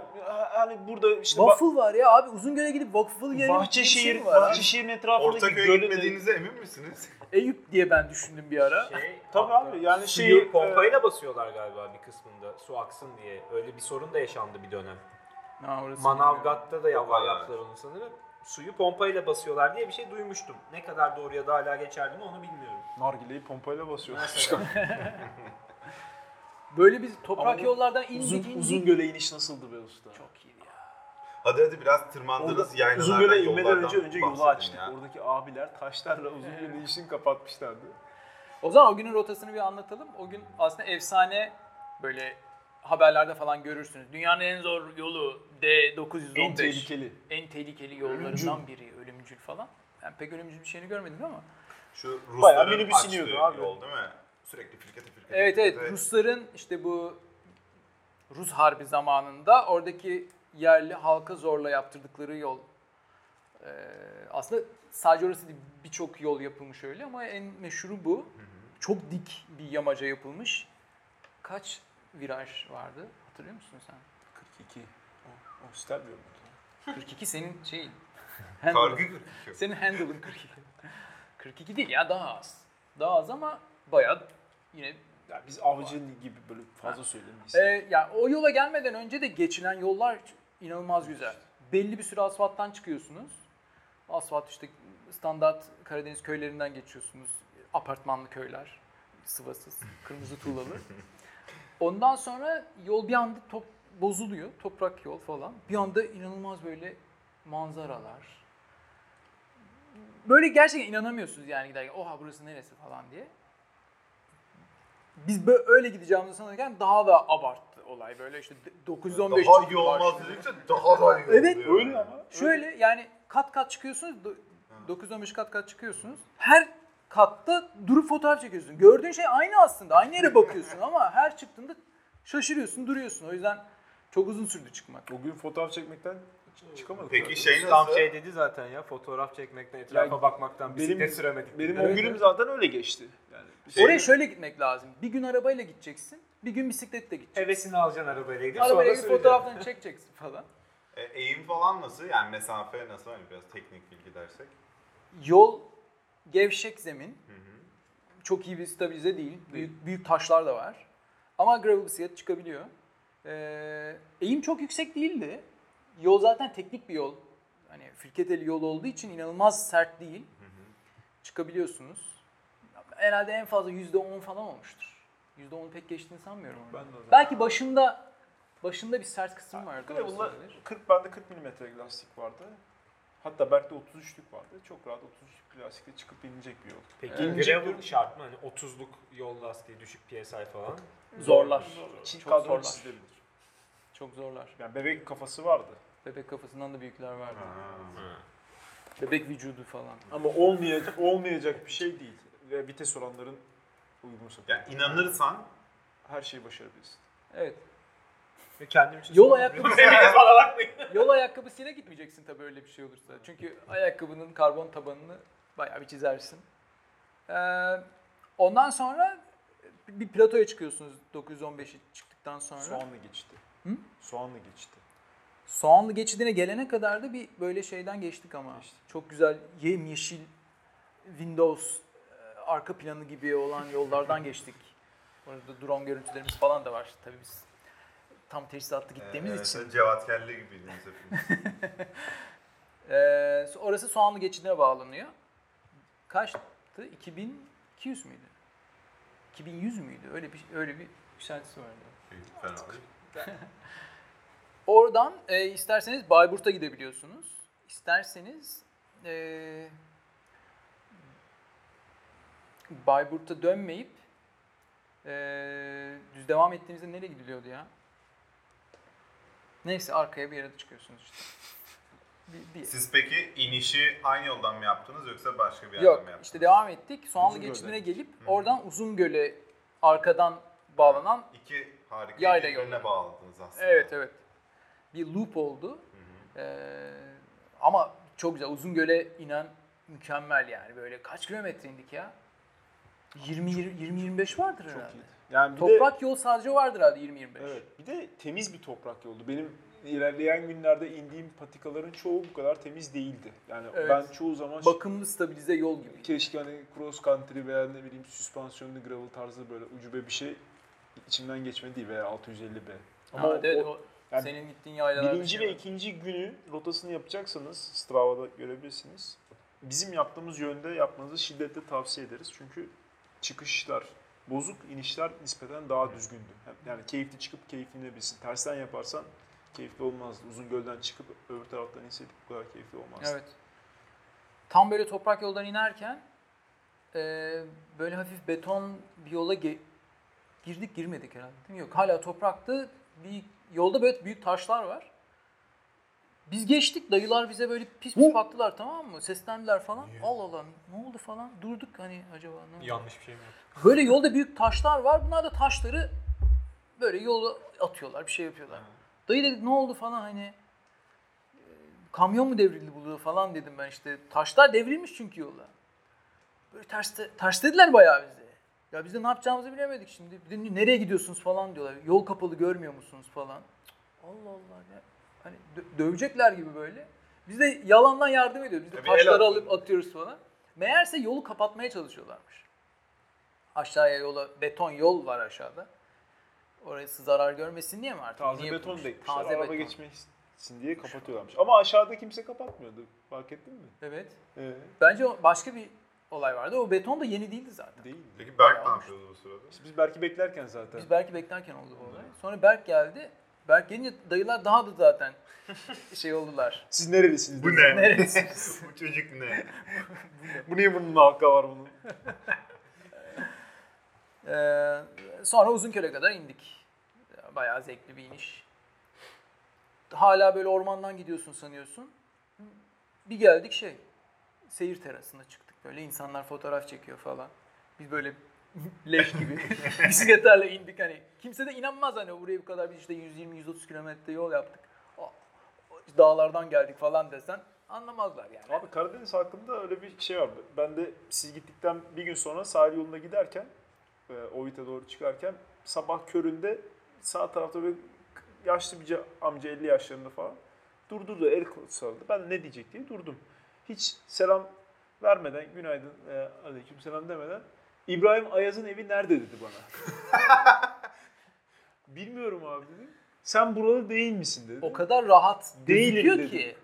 Speaker 5: hani burada işte ba-
Speaker 4: Waffle var ya abi Uzungöl'e gidip waffle yerim.
Speaker 5: Bahçeşehir,
Speaker 4: şey var. abi.
Speaker 5: Bahçeşehir'in etrafındaki
Speaker 3: Ortaköy'e
Speaker 5: gölü de-
Speaker 3: gitmediğinize emin misiniz?
Speaker 4: Eyüp diye ben düşündüm bir ara.
Speaker 6: Şey,
Speaker 5: Tabii abi yani
Speaker 6: Suyu
Speaker 5: şeyi
Speaker 6: pompayla basıyorlar galiba bir kısmında su aksın diye. Öyle bir sorun da yaşandı bir dönem.
Speaker 4: Ha, orası
Speaker 6: Manavgat'ta da yapar
Speaker 3: Yaparlar.
Speaker 6: yaptılar onu sanırım. Suyu pompayla basıyorlar diye bir şey duymuştum. Ne kadar doğru ya da hala geçerli mi onu bilmiyorum.
Speaker 5: e, nargileyi pompayla basıyorlar.
Speaker 6: Mesela.
Speaker 4: Böyle biz toprak
Speaker 5: Ama bu
Speaker 4: yollardan indik
Speaker 5: uzun
Speaker 4: indik.
Speaker 5: uzun göle iniş nasıldı be usta?
Speaker 4: Çok iyiydi ya.
Speaker 3: Hadi hadi biraz tırmandınız
Speaker 5: Orada
Speaker 3: yaylalardan,
Speaker 5: uzun göle inmeden
Speaker 3: yollardan
Speaker 5: önce önce yolu
Speaker 3: bahsedin
Speaker 5: açtık.
Speaker 3: ya.
Speaker 5: Oradaki abiler taşlarla uzun göle inişini kapatmışlardı.
Speaker 4: O zaman o günün rotasını bir anlatalım. O gün aslında efsane böyle haberlerde falan görürsünüz. Dünyanın en zor yolu D915.
Speaker 5: En tehlikeli.
Speaker 4: en tehlikeli yollarından biri ölümcül falan. Ben pek ölümcül bir şeyini görmedim ama.
Speaker 3: Şu
Speaker 5: Bayağı
Speaker 3: Rusların
Speaker 5: minibüs iniyordu
Speaker 3: açtığı
Speaker 5: abi.
Speaker 3: yol değil mi? Sürekli firkete firkete.
Speaker 4: Evet evet
Speaker 3: firkete.
Speaker 4: Rusların işte bu Rus harbi zamanında oradaki yerli halka zorla yaptırdıkları yol. Ee, aslında sadece orası değil birçok yol yapılmış öyle ama en meşhuru bu. Çok dik bir yamaca yapılmış. Kaç viraj vardı hatırlıyor musun sen?
Speaker 5: 42. O, o istemiyorum.
Speaker 4: 42 senin şeyin.
Speaker 3: Kargı
Speaker 4: handle'ın.
Speaker 3: gürültü.
Speaker 4: Senin handle'ın 42. 42 değil ya daha az. Daha az ama bayağı yine
Speaker 5: Ya biz avcı gibi böyle fazla söylemeyiz.
Speaker 4: Ee, ya o yola gelmeden önce de geçilen yollar inanılmaz güzel. Belli bir süre asfalttan çıkıyorsunuz. Asfalt işte standart Karadeniz köylerinden geçiyorsunuz. Apartmanlı köyler, sıvasız, kırmızı tuğlalı. Ondan sonra yol bir anda top bozuluyor, toprak yol falan. Bir anda inanılmaz böyle manzaralar. Böyle gerçekten inanamıyorsunuz yani giderken. Oha burası neresi falan diye biz böyle öyle gideceğimizi sanırken daha da abarttı olay. Böyle işte 915
Speaker 3: Daha
Speaker 4: çocuk
Speaker 3: iyi
Speaker 4: var.
Speaker 3: olmaz dedikçe daha da iyi
Speaker 4: Evet.
Speaker 3: oluyor.
Speaker 5: Öyle ama.
Speaker 4: Şöyle yani kat kat çıkıyorsunuz. do- 915 kat kat çıkıyorsunuz. Her katta durup fotoğraf çekiyorsun. Gördüğün şey aynı aslında. Aynı yere bakıyorsun ama her çıktığında şaşırıyorsun, duruyorsun. O yüzden çok uzun sürdü çıkmak.
Speaker 5: Bugün fotoğraf çekmekten çık- çıkamadık.
Speaker 3: Peki
Speaker 5: zaten.
Speaker 3: şey nasıl?
Speaker 6: Tam şey dedi zaten ya fotoğraf çekmekten etrafa
Speaker 5: Ya
Speaker 6: bakmaktan
Speaker 5: benim-
Speaker 6: bisiklet süremedik.
Speaker 5: Benim
Speaker 4: Evet,
Speaker 5: o günüm
Speaker 4: evet.
Speaker 5: zaten öyle geçti. Yani biz-
Speaker 4: Oraya şöyle gitmek lazım. Bir gün arabayla gideceksin, bir gün bisikletle gideceksin.
Speaker 6: Hevesini alacaksın arabayla gidip
Speaker 4: Arabayla
Speaker 6: sonra
Speaker 4: gidip
Speaker 6: süreceksin.
Speaker 4: fotoğraflarını çekeceksin falan.
Speaker 3: E, eğim falan nasıl? Yani mesafe nasıl? Hani biraz teknik bilgi dersek.
Speaker 4: Yol gevşek zemin. Çok iyi bir stabilize değil. Büyük, büyük taşlar da var. Ama gravel bisiklet çıkabiliyor. Ee, eğim çok yüksek değildi. Yol zaten teknik bir yol. Hani firketeli yol olduğu için inanılmaz sert değil. Çıkabiliyorsunuz. Herhalde en fazla %10 falan olmuştur. %10'u pek geçtiğini sanmıyorum.
Speaker 5: Ben
Speaker 4: orada.
Speaker 5: de o zaman-
Speaker 4: Belki başında başında bir sert kısım vardı.
Speaker 5: Gravel'da
Speaker 4: orası olabilir.
Speaker 5: 40 bende 40 mm lastik vardı. Hatta belki de 33'lük vardı. Çok rahat 33'lük lastikle çıkıp inecek bir yol.
Speaker 6: Peki
Speaker 5: İnce-
Speaker 6: gravel şart mı? Hani 30'luk yol lastiği düşük PSI falan.
Speaker 4: Zorlar.
Speaker 5: Çin
Speaker 4: Çok
Speaker 5: kadro
Speaker 4: zorlar.
Speaker 5: çizilebilir.
Speaker 4: Çok zorlar.
Speaker 5: Yani bebek kafası vardı.
Speaker 4: Bebek kafasından da büyükler vardı.
Speaker 3: Ha.
Speaker 4: Bebek vücudu falan.
Speaker 5: Ama olmayacak olmayacak bir şey değil. Ve vites oranların uygun
Speaker 3: Ya inanırsan
Speaker 5: Her şey şeyi başarabilirsin.
Speaker 4: Evet.
Speaker 6: Ve kendim için
Speaker 4: Yol
Speaker 6: sorumluyum.
Speaker 4: ayakkabısıyla, yol ayakkabısıyla gitmeyeceksin tabii öyle bir şey olursa. Çünkü ayakkabının karbon tabanını bayağı bir çizersin. Ee, ondan sonra bir platoya çıkıyorsunuz 915'i çıktıktan sonra.
Speaker 5: Soğanla geçti.
Speaker 4: Hı?
Speaker 5: Soğanla geçti.
Speaker 4: Soğanlı geçidine gelene kadar da bir böyle şeyden geçtik ama.
Speaker 5: Geçtik.
Speaker 4: Çok güzel yemyeşil Windows e, arka planı gibi olan yollardan geçtik. Orada drone görüntülerimiz falan da var. Tabii biz tam teçhizatlı gittiğimiz
Speaker 3: evet,
Speaker 4: için.
Speaker 3: evet, Cevat Kelle gibiydiniz hepiniz.
Speaker 4: Ee, orası Soğanlı Geçidi'ne bağlanıyor. Kaçtı? 2200 müydü? 2100 müydü? Öyle bir öyle bir yükseltisi vardı.
Speaker 3: Fena değil.
Speaker 4: Oradan e, isterseniz Bayburt'a gidebiliyorsunuz. İsterseniz e, Bayburt'a dönmeyip e, düz devam ettiğinizde nereye gidiliyordu ya? Neyse arkaya bir yere de çıkıyorsunuz işte. Bir, bir-
Speaker 3: Siz peki inişi aynı yoldan mı yaptınız yoksa başka bir yerden mi
Speaker 4: Yok
Speaker 3: yaptınız?
Speaker 4: işte devam ettik. Soğanlı
Speaker 5: Uzungöl'den.
Speaker 4: geçidine gelip
Speaker 3: Hı.
Speaker 4: oradan Uzungöl'e arkadan bağlanan
Speaker 3: İki harika
Speaker 4: Yayla
Speaker 3: birbirine
Speaker 4: yolu.
Speaker 3: bağladınız aslında.
Speaker 4: Evet evet. Bir loop oldu. Ee, ama çok güzel. Uzungöl'e inen mükemmel yani. Böyle kaç kilometre indik ya? 20 20-25 vardır herhalde.
Speaker 5: Çok iyi. Yani bir de,
Speaker 4: Toprak yol sadece vardır herhalde 20-25.
Speaker 5: evet, bir de temiz bir toprak yoldu. Benim ilerleyen günlerde indiğim patikaların çoğu bu kadar temiz değildi. Yani
Speaker 4: Evet.
Speaker 5: ben çoğu zaman
Speaker 4: Bakımlı stabilize yol gibi.
Speaker 5: keşke hani cross country veya ne bileyim süspansiyonlu gravel tarzı böyle ucube bir şey içimden geçmedi veya 650B. Ama
Speaker 4: Ama evet,
Speaker 5: o-
Speaker 4: o,
Speaker 5: yani
Speaker 4: senin gittiğin yaylalarda.
Speaker 5: Birinci
Speaker 4: şey
Speaker 5: ve
Speaker 4: var.
Speaker 5: ikinci günü rotasını yapacaksanız Strava'da görebilirsiniz. Bizim yaptığımız yönde yapmanızı şiddetle tavsiye ederiz. Çünkü çıkışlar bozuk, inişler nispeten daha düzgündü. Hem- Yani keyifli çıkıp keyiflenebilirsin. Tersten yaparsan keyifli olmazdı. Uzun gölden çıkıp öbür taraftan inseydik bu kadar keyifli olmazdı.
Speaker 4: Evet. Tam böyle toprak yoldan inerken e, böyle hafif beton bir yola ge- girdik girmedik herhalde değil mi? Yok hala topraktı. Bir yolda böyle büyük taşlar var. Biz geçtik dayılar bize böyle pis pis baktılar tamam mı? Seslendiler falan. Allah Allah ne oldu falan. Durduk hani acaba ne oldu?
Speaker 6: Yanlış bir şey mi yaptın?
Speaker 4: Böyle yolda büyük taşlar var. Bunlar da taşları böyle yola atıyorlar, bir şey yapıyorlar. Dayı dedik ne oldu falan hani e, kamyon mu devrildi burada falan dedim ben işte. Taşlar devrilmiş çünkü yola. Böyle ters, ters dediler bayağı bize. Ya biz de ne yapacağımızı bilemedik şimdi. Bir de nereye gidiyorsunuz falan diyorlar. Yol kapalı görmüyor musunuz falan. Cık, Allah Allah ya. Hani dö- dövecekler gibi böyle. Biz de yalandan yardım ediyoruz. Biz de
Speaker 3: Tabii el
Speaker 4: taşları
Speaker 3: atıyoruz.
Speaker 4: alıp atıyoruz falan. Meğerse yolu kapatmaya çalışıyorlarmış aşağıya yola beton yol var aşağıda. Orası zarar görmesin diye mi artık?
Speaker 5: Taze
Speaker 4: Niye
Speaker 5: beton
Speaker 4: yapılmış?
Speaker 5: dekmişler.
Speaker 4: Taze
Speaker 5: Araba
Speaker 4: beton.
Speaker 5: geçmesin diye kapatıyorlarmış. Ama aşağıda kimse kapatmıyordu. Fark ettin mi?
Speaker 4: Evet.
Speaker 5: Ee,
Speaker 4: Bence o- başka bir olay vardı. O beton da yeni değildi zaten.
Speaker 5: değil.
Speaker 3: Peki Berk ne yapıyordu bu sırada?
Speaker 5: Biz belki beklerken zaten.
Speaker 4: Biz belki beklerken oldu bu olay. Sonra Berk geldi. Berk gelince dayılar daha da zaten şey oldular.
Speaker 5: Siz nerelisiniz?
Speaker 3: Bu ne? bu çocuk ne?
Speaker 5: Bu niye bunun hakkı var bunun?
Speaker 4: Ee, sonra Uzunköle kadar indik. Bayağı zevkli bir iniş. Hala böyle ormandan gidiyorsun sanıyorsun. Bir geldik şey, seyir terasına çıktık. Böyle insanlar fotoğraf çekiyor falan. Biz böyle leş gibi bisikletlerle indik hani. Kimse de inanmaz hani buraya bu kadar bir işte 120-130 kilometre yol yaptık. O- o- Dağlardan geldik falan desen anlamazlar yani.
Speaker 5: Abi Karadeniz hakkında öyle bir şey vardı. Ben de siz gittikten bir gün sonra sahil yoluna giderken, e, Ovit'e doğru çıkarken sabah köründe sağ tarafta böyle yaşlı bir ca- amca 50 yaşlarında falan durdurdu, el kol salladı. Ben ne diyecek diye durdum. Hiç selam vermeden, günaydın, e, aleyküm selam demeden İbrahim Ayaz'ın evi nerede dedi bana. Bilmiyorum abi dedim. Sen buralı değil misin dedi.
Speaker 4: O kadar rahat
Speaker 5: Değilim
Speaker 4: gözüküyor
Speaker 5: dedim.
Speaker 4: ki.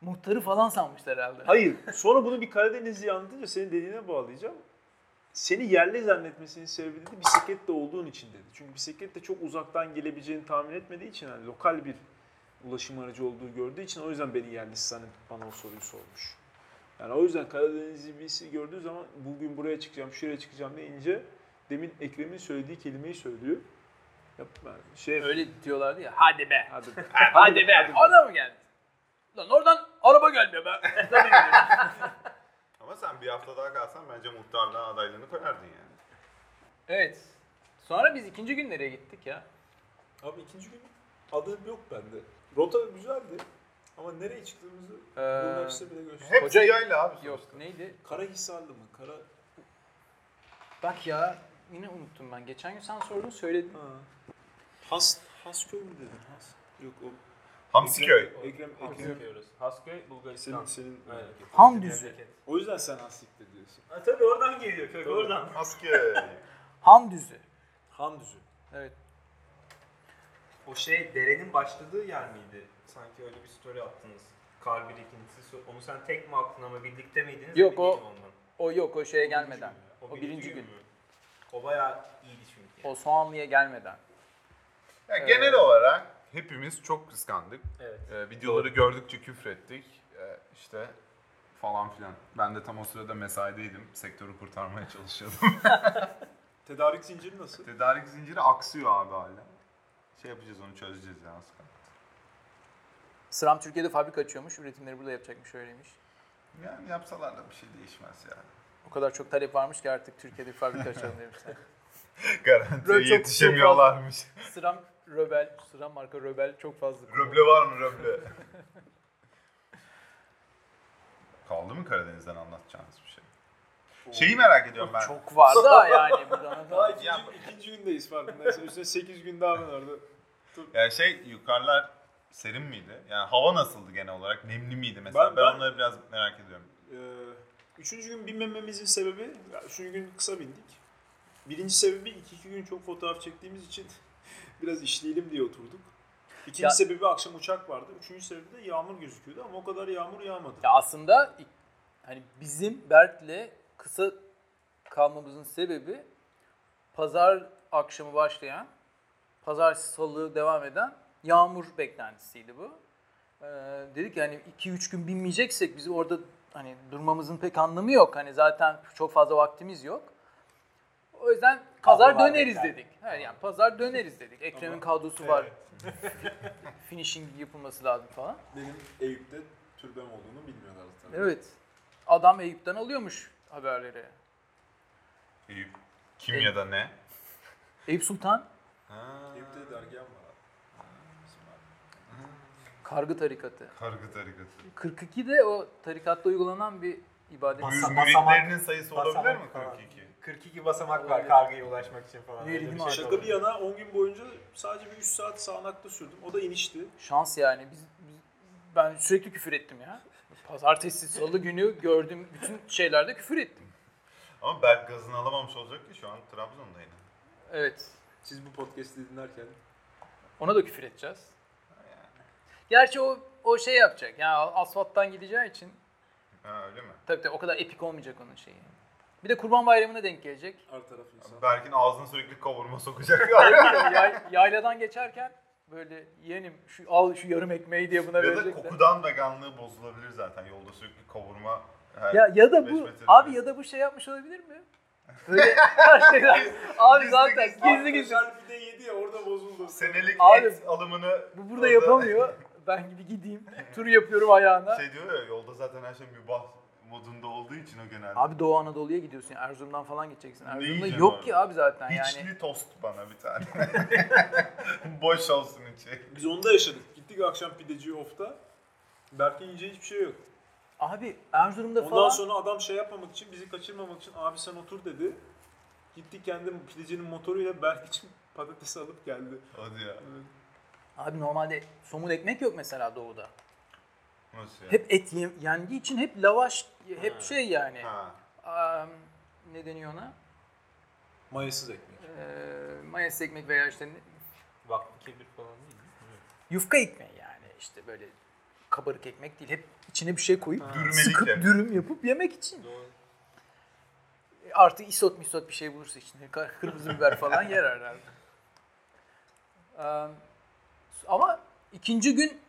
Speaker 4: Muhtarı falan sanmışlar herhalde.
Speaker 5: Hayır. Sonra bunu bir Karadenizli'ye anlatınca senin dediğine bağlayacağım. Seni yerli zannetmesinin sebebi dedi bisikletle olduğun için dedi. Çünkü bisikletle çok uzaktan gelebileceğini tahmin etmediği için hani lokal bir ulaşım aracı olduğu gördüğü için o yüzden beni yerlisi zannedip bana o soruyu sormuş. Yani o yüzden Karadenizli birisi gördüğü zaman bugün buraya çıkacağım, şuraya çıkacağım deyince demin Ekrem'in söylediği kelimeyi söylüyor. Yapma şey
Speaker 4: Öyle diyorlardı ya. Hadi be.
Speaker 5: hadi be.
Speaker 4: Hadi be. Oradan mı geldin? Lan oradan araba gelmiyor be.
Speaker 3: Ama sen bir hafta daha kalsan bence muhtarlığa adaylığını koyardın yani.
Speaker 4: evet. Sonra biz ikinci gün nereye gittik ya?
Speaker 5: Abi ikinci gün adı yok bende. Rota güzeldi ama nereye çıktığımızı
Speaker 4: Google Maps'te
Speaker 5: bile göster.
Speaker 3: Hep
Speaker 4: Hoca-
Speaker 3: yayla abi.
Speaker 4: Ee, Yok neydi?
Speaker 5: Karahisarlı mı? Kara...
Speaker 4: Bak ya yine unuttum ben. Geçen gün sen sordun söyledin.
Speaker 5: Ha. Has, Hasköy mü dedin? Has. Yok o.
Speaker 3: Hamsiköy.
Speaker 5: Ekrem, Ekrem.
Speaker 6: Hamsiköy orası. Hasköy, Bulgaristan.
Speaker 5: Senin, senin.
Speaker 6: Aynen.
Speaker 4: Hamdüzü.
Speaker 6: Memleket.
Speaker 5: O yüzden sen Hastik'te diyorsun.
Speaker 6: Ha, tabii oradan geliyor kök, oradan.
Speaker 3: Hamsiköy.
Speaker 4: Hamdüzü.
Speaker 5: Hamdüzü.
Speaker 4: Evet.
Speaker 6: O şey derenin başladığı yer miydi? Sanki öyle bir story attınız. Kar birikintisi. so- Onu sen tek mi attın ama birlikte miydiniz?
Speaker 4: Yok,
Speaker 6: Emin değilim
Speaker 4: o-
Speaker 6: ondan.
Speaker 4: O yok o şeye gelmeden. O birinci gün.
Speaker 6: mü? O bayağı iyiydi çünkü.
Speaker 4: O soğanlıya gelmeden.
Speaker 3: Ya genel olarak hepimiz çok kıskandık.
Speaker 6: Evet.
Speaker 3: Ee, videoları gördükçe küfrettik. Ee, işte falan filan. Ben de tam o sırada mesaideydim. Sektörü kurtarmaya çalışıyordum.
Speaker 5: Tedarik zinciri nasıl?
Speaker 3: Tedarik zinciri aksıyor abi hala. Şey yapacağız onu çözeceğiz ya az kaldı.
Speaker 4: Sıram Türkiye'de fabrika açıyormuş. Üretimleri burada yapacakmış öyleymiş.
Speaker 3: Yani yapsalar da bir şey değişmez yani.
Speaker 4: O kadar çok talep varmış ki artık Türkiye'de bir fabrika açalım demişler. Böyle çok-
Speaker 3: Garantiye
Speaker 4: çok
Speaker 3: yetişemiyorlarmış.
Speaker 4: Sıram Röbel, Sıram marka Röbel çok fazla.
Speaker 3: Röble var mı röble? Kaldı mı Karadeniz'den anlatacağınız bir şey? Şeyi merak ediyorum ben.
Speaker 4: Çok var da yani buradan
Speaker 5: Daha
Speaker 4: da.
Speaker 5: ikinci, ikinci gündeyiz farkındaysan. Üstüne 8 gün daha var orada.
Speaker 3: Yani şey yukarılar serin miydi? Yani hava nasıldı genel olarak? Nemli miydi mesela? Ben,
Speaker 5: Ben- ben-
Speaker 3: onları biraz merak ediyorum.
Speaker 5: Ee, üçüncü gün binmememizin sebebi, ya üçüncü gün kısa bindik. Birinci sebebi iki, iki gün çok fotoğraf çektiğimiz için biraz işleyelim diye oturduk. İkinci
Speaker 4: Ya-
Speaker 5: sebebi akşam uçak vardı. Üçüncü sebebi de yağmur gözüküyordu ama o kadar yağmur yağmadı.
Speaker 4: Ya aslında ilk- hani bizim Berk'le kısa kalmamızın sebebi pazar akşamı başlayan, pazar salı devam eden yağmur beklentisiydi bu. Ee, dedik yani 2-3 gün binmeyeceksek biz orada hani durmamızın pek anlamı yok. Hani zaten çok fazla vaktimiz yok. O yüzden pazar
Speaker 6: Kadrolar
Speaker 4: döneriz
Speaker 6: bekler.
Speaker 4: dedik. He, yani pazar döneriz dedik. Ekrem'in kadrosu var.
Speaker 5: Evet.
Speaker 4: Finishing yapılması lazım falan.
Speaker 5: Benim Eyüp'te türbem olduğunu bilmiyorlar zaten.
Speaker 4: Evet. Adam Eyüp'ten alıyormuş haberleri.
Speaker 3: Eyüp. Kim ya da ne?
Speaker 4: Eyüp Sultan
Speaker 3: Ha,
Speaker 5: Eyüp'te dergah var.
Speaker 4: kargı tarikatı.
Speaker 3: Kargı tarikatı.
Speaker 4: 42'de o tarikatta uygulanan bir ibadet.
Speaker 3: Bu
Speaker 6: Basamak-
Speaker 3: müritlerinin sayısı olabilir
Speaker 6: basamak
Speaker 3: mi
Speaker 6: falan.
Speaker 3: 42?
Speaker 6: 42 basamak var
Speaker 4: Olabilir.
Speaker 6: kargıya ulaşmak için falan.
Speaker 4: Yürü
Speaker 6: Öyle
Speaker 4: gidin
Speaker 6: bir şey
Speaker 5: Şaka
Speaker 6: olabilir.
Speaker 5: bir yana 10 gün boyunca sadece bir 3 saat sağanakta sürdüm. O da inişti.
Speaker 4: Şans yani. Biz, biz- ben sürekli küfür ettim ya. Pazartesi, salı günü gördüğüm bütün şeylerde küfür ettim.
Speaker 3: Ama Berk gazını alamamış olacak ki şu an Trabzon'da yine.
Speaker 4: Evet.
Speaker 5: Siz bu podcast'i dinlerken
Speaker 4: Ona da küfür edeceğiz. Gerçi o o şey yapacak. Yani asfalttan gideceği için
Speaker 3: Ha öyle mi?
Speaker 4: tabii tabii o kadar epik olmayacak onun şeyi. Bir de Kurban Bayramı'na denk gelecek.
Speaker 5: her taraf insan.
Speaker 3: Berk'in ağzını sürekli kavurma sokacak.
Speaker 4: Yay- yayladan geçerken böyle yeğenim şu al şu yarım ekmeği diye buna
Speaker 3: ya da
Speaker 4: verecekler.
Speaker 3: kokudan veganlığı bozulabilir zaten. Yolda sürekli kavurma. her-
Speaker 4: Ya ya da
Speaker 3: Beş
Speaker 4: bu
Speaker 3: metre
Speaker 4: abi
Speaker 3: bir-
Speaker 4: ya da bu şey yapmış olabilir mi? Böyle her şeyler abi
Speaker 3: gizli
Speaker 4: zaten
Speaker 3: gizli.
Speaker 4: gizli gizli.
Speaker 5: bir de yedi ya orada bozuldu.
Speaker 3: Senelik
Speaker 4: Abi,
Speaker 3: et alımını
Speaker 4: Bu burada yapamıyor. Ben gibi gideyim. Tur yapıyorum ayağına.
Speaker 3: Şey diyor ya yolda zaten her şey mübah modunda olduğu için o genelde.
Speaker 4: Abi Doğu Anadolu'ya gidiyorsun. yani Erzurum'dan falan gideceksin. Erzurum'da
Speaker 3: yiyeceğim
Speaker 4: yok
Speaker 3: abi?
Speaker 4: ki abi zaten
Speaker 3: İçli
Speaker 4: yani.
Speaker 3: tost bana bir tane. Boş olsun içi.
Speaker 5: Biz onu da yaşadık. Gittik akşam pideci ofta. Berk'in yiyeceği hiçbir şey yok.
Speaker 4: Abi Erzurum'da
Speaker 5: Ondan
Speaker 4: falan
Speaker 5: sonra adam şey yapmamak için, bizi kaçırmamak için abi sen otur dedi. Gitti kendi pidecinin motoruyla Berk için patates alıp geldi.
Speaker 3: Hadi ya.
Speaker 4: abi normalde somun ekmek yok mesela Doğu'da.
Speaker 3: Nasıl ya?
Speaker 4: Hep et ye- yendiği için hep lavaş hep şey yani.
Speaker 3: Ha.
Speaker 4: Aa, ne deniyor ona?
Speaker 5: Mayasız ekmek.
Speaker 4: Ee, mayas ekmek veya işte ne-
Speaker 6: Bak kibir falan değil. mi?
Speaker 4: yufka ekmeği yani işte böyle kabarık ekmek değil. Hep içine bir şey koyup
Speaker 3: Dürümelik
Speaker 4: sıkıp
Speaker 3: yani.
Speaker 4: dürüm yapıp yemek için.
Speaker 6: Doğru.
Speaker 4: E, Artı isot misot bir şey bulursa içinde kar- kırmızı biber falan yer herhalde. Eee, Ama ikinci gün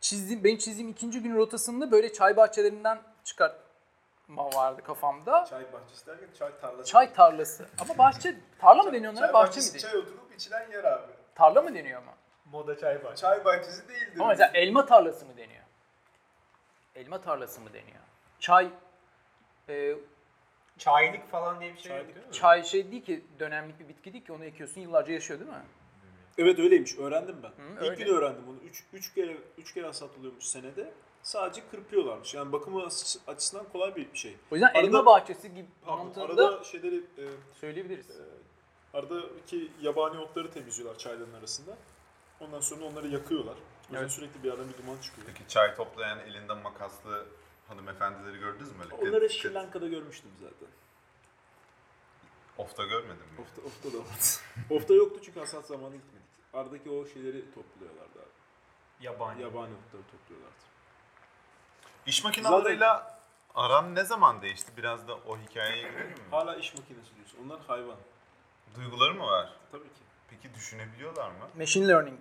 Speaker 4: çizdiğim, benim çizdiğim ikinci gün rotasında böyle çay bahçelerinden çıkartma vardı kafamda.
Speaker 5: Çay bahçesi derken çay tarlası.
Speaker 4: Çay tarlası. Ama bahçe, tarla mı deniyor onlara? Bahçe mi deniyor?
Speaker 5: oturup içilen yer abi.
Speaker 4: Tarla mı deniyor ama?
Speaker 6: Moda çay var.
Speaker 5: Çay bahçesi değildir.
Speaker 4: Ama mesela elma tarlası mı deniyor? Elma tarlası mı deniyor? Çay e,
Speaker 6: Çaylık falan diye bir şey yok
Speaker 5: Çaylık.
Speaker 6: değil mi?
Speaker 4: çay şey değil ki dönemlik bir bitki değil ki onu ekiyorsun yıllarca yaşıyor değil mi?
Speaker 5: Evet öyleymiş. Öğrendim ben.
Speaker 4: Hı,
Speaker 5: İlk
Speaker 4: öyle.
Speaker 5: gün öğrendim bunu. 3 3 kere 3 kere hasat oluyormuş senede. Sadece kırpıyorlarmış. Yani bakımı as- açısından kolay bir şey.
Speaker 4: O yüzden
Speaker 5: Arada-
Speaker 4: elma bahçesi gibi
Speaker 5: Pardon,
Speaker 4: mantığında
Speaker 5: arada şeyleri e,
Speaker 4: söyleyebiliriz.
Speaker 5: aradaki yabani otları temizliyorlar çayların arasında. Ondan sonra onları yakıyorlar. yüzden sürekli bir yerden bir duman çıkıyor.
Speaker 3: Peki çay toplayan elinde makaslı hanımefendileri gördünüz mü? Öyle
Speaker 5: Onları
Speaker 3: kıt-
Speaker 5: Sri Lanka'da görmüştüm zaten.
Speaker 3: Ofta görmedim mi?
Speaker 5: Ofta, ofta da vardı. ofta yoktu çünkü hasat zamanı gitmedik. Aradaki o şeyleri topluyorlardı abi.
Speaker 6: Yabani.
Speaker 5: Yabani otları topluyorlardı.
Speaker 3: İş makinalarıyla aran ne zaman değişti? Biraz da o hikayeye girelim mi?
Speaker 5: Hala iş makinesi diyorsun. Onlar hayvan.
Speaker 3: Duyguları mı var?
Speaker 5: Tabii ki.
Speaker 3: Peki düşünebiliyorlar mı?
Speaker 4: Machine learning.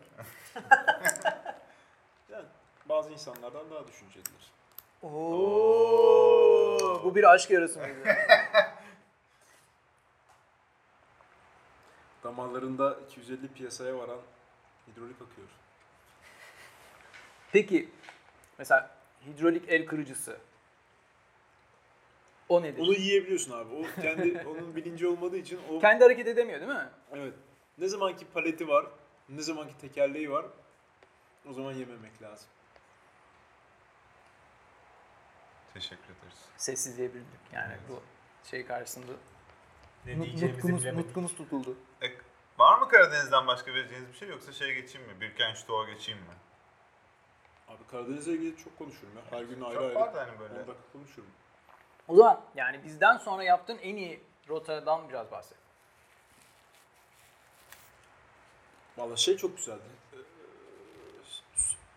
Speaker 5: Yani bazı insanlardan daha düşüncelidir.
Speaker 4: Oo, bu bir aşk yarası mıydı?
Speaker 5: Damarlarında 250 piyasaya varan hidrolik akıyor.
Speaker 4: Peki mesela hidrolik el kırıcısı. O nedir?
Speaker 5: Onu yiyebiliyorsun abi. O kendi onun bilinci olmadığı için o
Speaker 4: Kendi hareket edemiyor değil mi?
Speaker 5: evet. Ne zamanki paleti var, ne zamanki tekerleği var o zaman yememek lazım.
Speaker 3: Teşekkür ederiz.
Speaker 4: Sessizliğe büründük. Yani bu şey karşısında
Speaker 6: Ne diyeceğimizi
Speaker 4: nutkumuz,
Speaker 6: bilemedik.
Speaker 4: nutkumuz tutuldu.
Speaker 3: E, var mı Karadeniz'den başka vereceğiniz bir şey yoksa şeye geçeyim mi? Birkenstoğa geçeyim mi?
Speaker 5: Abi Karadeniz'e ilgili çok konuşurum ya. Her gün ayrı
Speaker 3: Çok
Speaker 5: ayrı.
Speaker 3: vardı hani
Speaker 5: 10
Speaker 3: böyle.
Speaker 5: dakika konuşurum.
Speaker 4: O zaman yani bizden sonra yaptığın en iyi rotadan biraz bahset.
Speaker 5: Valla şey çok güzeldi. Ee,